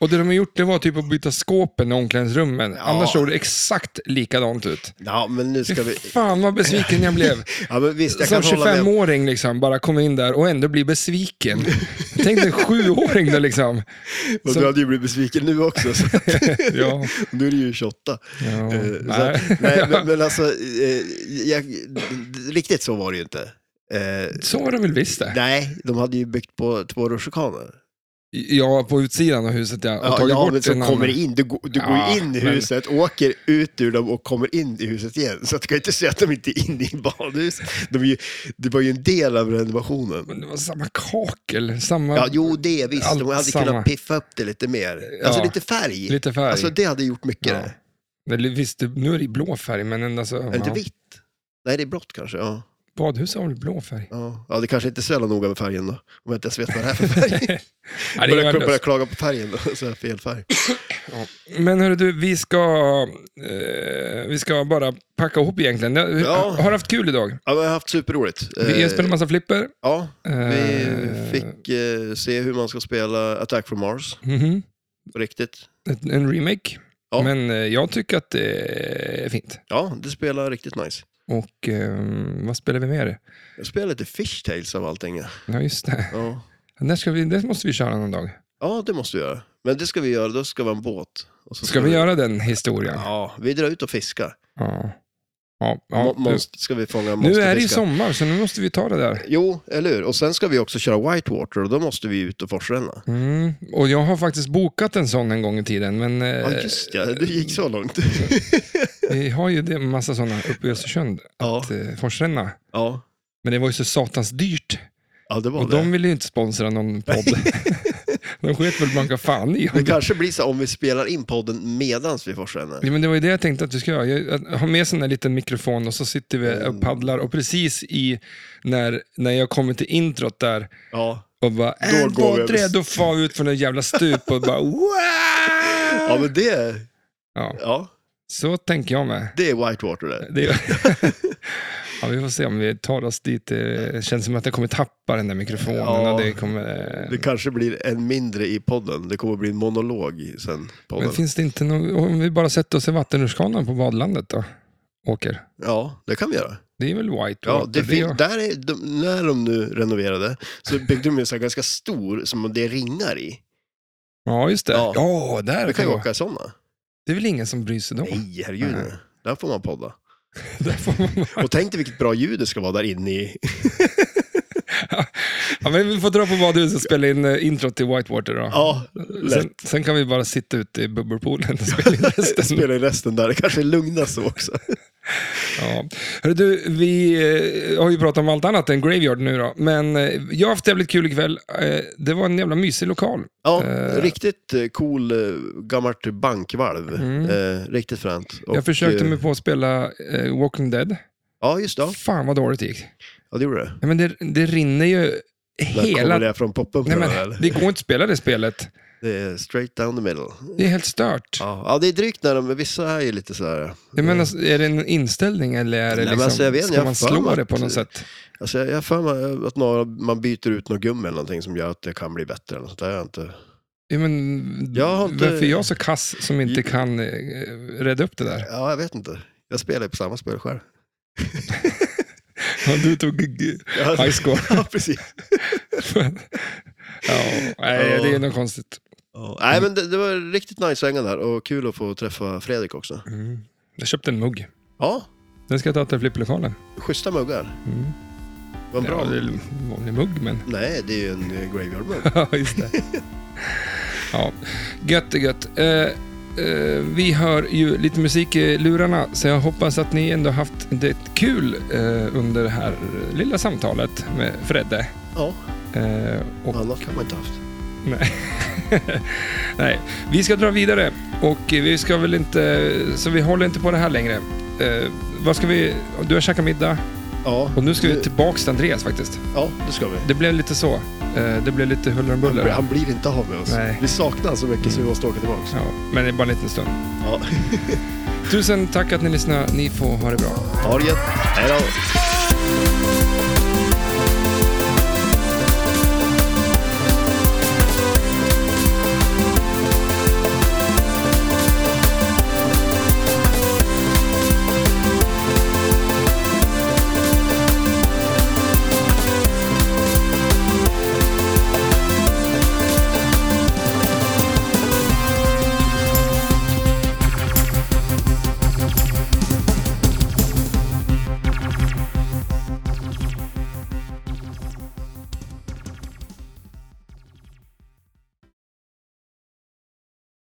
Speaker 1: Och det de har gjort det var typ att byta skåpen i omklädningsrummen. Annars såg det exakt likadant ut.
Speaker 2: ja, men nu ska vi...
Speaker 1: Fan vad besviken jag blev.
Speaker 2: Ja, men visst, jag
Speaker 1: Som
Speaker 2: kan hålla med.
Speaker 1: 25-åring liksom, bara kom in där och ändå blir besviken. Tänk dig en sjuåring då liksom.
Speaker 2: Och
Speaker 1: som-
Speaker 2: du hade ju blivit besviken nu också. Så.
Speaker 1: Ja,
Speaker 2: nu är du ju 28.
Speaker 1: ja.
Speaker 2: Eh, så
Speaker 1: nej.
Speaker 2: att- nej, men, men alltså, eh, jag, riktigt så var det ju inte. Eh,
Speaker 1: Så var det väl visst det.
Speaker 2: nej, de hade ju byggt på två rutschkanor.
Speaker 1: Ja, på utsidan av huset ja. Och
Speaker 2: Ja,
Speaker 1: tagit
Speaker 2: ja
Speaker 1: bort
Speaker 2: men som
Speaker 1: en
Speaker 2: kommer
Speaker 1: annan.
Speaker 2: in. Du, går- du går
Speaker 1: Ja,
Speaker 2: ju in i
Speaker 1: men-
Speaker 2: huset, åker ut ur dem och kommer in i huset igen. Så att du kan ju inte säga att de inte är inne i badhus. De är ju, det var ju en del av renovationen.
Speaker 1: Men det var samma kakel, samma...
Speaker 2: Ja, jo, det är visst.
Speaker 1: Allt
Speaker 2: De hade
Speaker 1: samma.
Speaker 2: kunnat piffa upp det lite mer. Alltså
Speaker 1: Ja.
Speaker 2: lite färg.
Speaker 1: Lite färg.
Speaker 2: Alltså det hade gjort mycket.
Speaker 1: Ja.
Speaker 2: det.
Speaker 1: Eller, visst, det- nu är det i blå färg, men ändå så...
Speaker 2: Är det inte
Speaker 1: Ja.
Speaker 2: vitt? Nej, det är blått kanske. Ja.
Speaker 1: Badhus har väl blå färg?
Speaker 2: Ja. ja, det kanske inte är så jävla noga med färgen då. Om jag inte ens vet vad det är för färg.
Speaker 1: Ja, det är
Speaker 2: Börjar
Speaker 1: värdelöst.
Speaker 2: börjar klaga på färgen då. Så här fel färg.
Speaker 1: Men hörru du, vi ska, eh, vi ska bara packa ihop egentligen. Jag,
Speaker 2: Ja.
Speaker 1: Har haft kul idag.
Speaker 2: Ja, men jag har haft superroligt.
Speaker 1: Vi
Speaker 2: Eh,
Speaker 1: har spelat massa flipper.
Speaker 2: Ja, Vi
Speaker 1: Eh,
Speaker 2: fick eh, se hur man ska spela Attack from Mars
Speaker 1: mhm.
Speaker 2: på riktigt.
Speaker 1: Ett- En remake.
Speaker 2: Ja.
Speaker 1: Men eh, jag tycker att det är fint.
Speaker 2: Ja, det spelar riktigt nice.
Speaker 1: Och eh, vad spelar vi mer?
Speaker 2: Jag spelar lite Fish Tales av allting.
Speaker 1: Ja, just det.
Speaker 2: Ja.
Speaker 1: När ska vi, det måste vi köra någon dag.
Speaker 2: ja, det måste vi göra. Men det ska vi göra, då ska vi ha en båt. Och så
Speaker 1: Ska vi göra den historien?
Speaker 2: Ja, vi drar ut och fiskar.
Speaker 1: Ja. ja.
Speaker 2: Mo-
Speaker 1: ja.
Speaker 2: monst- ska vi
Speaker 1: Nu
Speaker 2: fånga
Speaker 1: är det ju
Speaker 2: monsterfiskar.
Speaker 1: sommar, så nu måste vi ta det där.
Speaker 2: Jo, eller hur? Och sen ska vi också köra Whitewater och då måste vi ut och forsränna.
Speaker 1: Mm. Och jag har faktiskt bokat en sån en gång i tiden, men eh,
Speaker 2: Ja, just ja, det gick så långt.
Speaker 1: vi har ju det- en massa såna uppe i Östersund.
Speaker 2: ja,
Speaker 1: att eh, forsränna.
Speaker 2: ja.
Speaker 1: Men det var ju så satans dyrt.
Speaker 2: ja, det var
Speaker 1: Och
Speaker 2: det.
Speaker 1: de ville ju inte sponsra någon podd. de sket väl blanka fan i.
Speaker 2: Det
Speaker 1: om det.
Speaker 2: kanske blir så om vi spelar in podden medans vi forsränner.
Speaker 1: Ja, men det var ju det jag tänkte att vi ska göra. Jag, att ha med sån där liten mikrofon och så sitter vi
Speaker 2: Mm.
Speaker 1: och paddlar. Och precis i när, när jag kommer till introt där
Speaker 2: Ja.
Speaker 1: och bara "Äh,
Speaker 2: Då
Speaker 1: då
Speaker 2: går vi
Speaker 1: går
Speaker 2: över-
Speaker 1: redo att far vi ut från den jävla stup och bara wow!
Speaker 2: ja, men det...
Speaker 1: Ja,
Speaker 2: Ja,
Speaker 1: så tänker jag med.
Speaker 2: det är Whitewater det.
Speaker 1: Det är... ja, vi får se om vi tar oss dit. Det känns som att jag kommer tappa den där mikrofonen.
Speaker 2: Ja.
Speaker 1: Och det kommer... eh,
Speaker 2: Det kanske blir en mindre i podden. Det kommer att bli en monolog i sen. Podden.
Speaker 1: Men finns det inte någon, om vi bara sätter oss i vattenrutschkanan på badlandet då? Åker.
Speaker 2: Ja, det kan vi göra.
Speaker 1: Det är väl white
Speaker 2: Ja,
Speaker 1: water,
Speaker 2: det fin-
Speaker 1: är-
Speaker 2: där är de, när de nu renoverade så byggde de en sån här ganska stor som det är ringar i.
Speaker 1: ja, just det.
Speaker 2: Ja.
Speaker 1: Ja, där
Speaker 2: Du
Speaker 1: det
Speaker 2: kan
Speaker 1: kan
Speaker 2: ju
Speaker 1: jag åka.
Speaker 2: åka i sådana.
Speaker 1: Det är väl ingen som bryr sig då?
Speaker 2: Nej, herregud.
Speaker 1: Nej.
Speaker 2: Där får man podda.
Speaker 1: Där får man bara...
Speaker 2: Och tänk dig vilket bra ljud det ska vara där inne i.
Speaker 1: ja, men vi får dra på badhuset och spela in eh, introt till Whitewater då.
Speaker 2: Ja,
Speaker 1: sen,
Speaker 2: lätt.
Speaker 1: sen kan vi bara sitta ute i bubbelpoolen och spela in resten.
Speaker 2: Spela i resten där. Det kanske är lugnast så också.
Speaker 1: Ja. Hörru, du, vi eh, har ju pratat om allt annat än Graveyard nu då. Men eh, jag har haft jävligt kul ikväll. Eh, det var en jävla mysig lokal.
Speaker 2: Ja,
Speaker 1: Eh.
Speaker 2: riktigt eh, cool eh, gammalt bankvalv.
Speaker 1: Mm.
Speaker 2: Eh, riktigt fränt. Och,
Speaker 1: jag försökte
Speaker 2: eh,
Speaker 1: mig på att spela eh, Walking Dead.
Speaker 2: Ja, just det. Ja.
Speaker 1: Fan vad dåligt det gick.
Speaker 2: Ja, det gjorde det.
Speaker 1: Ja, men det, det rinner ju
Speaker 2: Där kommer
Speaker 1: hela...
Speaker 2: det från poppen på
Speaker 1: Nej,
Speaker 2: den här,
Speaker 1: men,
Speaker 2: eller?
Speaker 1: det går inte att spela det spelet.
Speaker 2: Det är straight down the middle.
Speaker 1: Det är helt stört.
Speaker 2: Ja, ja det är drygt när de, vissa är ju lite sådär.
Speaker 1: Jag menar, är det en inställning eller är det
Speaker 2: Nej, men
Speaker 1: liksom,
Speaker 2: alltså, jag vet inte,
Speaker 1: ska
Speaker 2: jag
Speaker 1: man
Speaker 2: har för mig
Speaker 1: slå det på
Speaker 2: att-
Speaker 1: något sätt?
Speaker 2: Alltså jag jag har för mig att några, man byter ut något gummi eller någonting som gör att det kan bli bättre. Eller något sånt där. Jag har inte...
Speaker 1: Ja, men,
Speaker 2: Jag har inte-
Speaker 1: Varför är jag så kass som inte kan eh, reda upp det där?
Speaker 2: Ja, jag vet inte. Jag spelar ju på samma spel själv.
Speaker 1: Ja, Du tog g- high score.
Speaker 2: ja, precis.
Speaker 1: ja, nej,
Speaker 2: Ja.
Speaker 1: det är nog konstigt.
Speaker 2: Ja. Nej, men det, det var riktigt nice svänga där och kul att få träffa Fredrik också.
Speaker 1: Mm. Jag köpte en mugg.
Speaker 2: Ja,
Speaker 1: Den ska jag ta till flipplokalen.
Speaker 2: schyssta muggar.
Speaker 1: Mm.
Speaker 2: Vad bra.
Speaker 1: Ja, det är en vanlig mugg, men...
Speaker 2: Nej, det är ju en eh, graveyard mugg.
Speaker 1: Ja, just det. Ja, gött är gött. Eh, eh, vi hör ju lite musik i lurarna, så jag hoppas att ni ändå haft det kul eh, under det här lilla samtalet med Fredde.
Speaker 2: Ja,
Speaker 1: Eh, och
Speaker 2: annat kan man inte haft.
Speaker 1: Nej. Nej, vi ska dra vidare och vi ska väl inte, så vi håller inte på det här längre. Eh, vad ska vi, du har käkat middag
Speaker 2: Ja,
Speaker 1: och nu ska vi
Speaker 2: det-
Speaker 1: tillbaks till Andreas faktiskt.
Speaker 2: Ja, det ska vi.
Speaker 1: Det blev lite så. Eh, det blev lite huller om
Speaker 2: Han blir,
Speaker 1: buller.
Speaker 2: han blir inte av med oss.
Speaker 1: Nej.
Speaker 2: Vi saknar honom så mycket så vi måste åka tillbaka.
Speaker 1: Ja, men det är bara en liten stund.
Speaker 2: Ja.
Speaker 1: Tusen tack att ni lyssnade. Ni får ha det bra.
Speaker 2: Ha det gött. Hej då.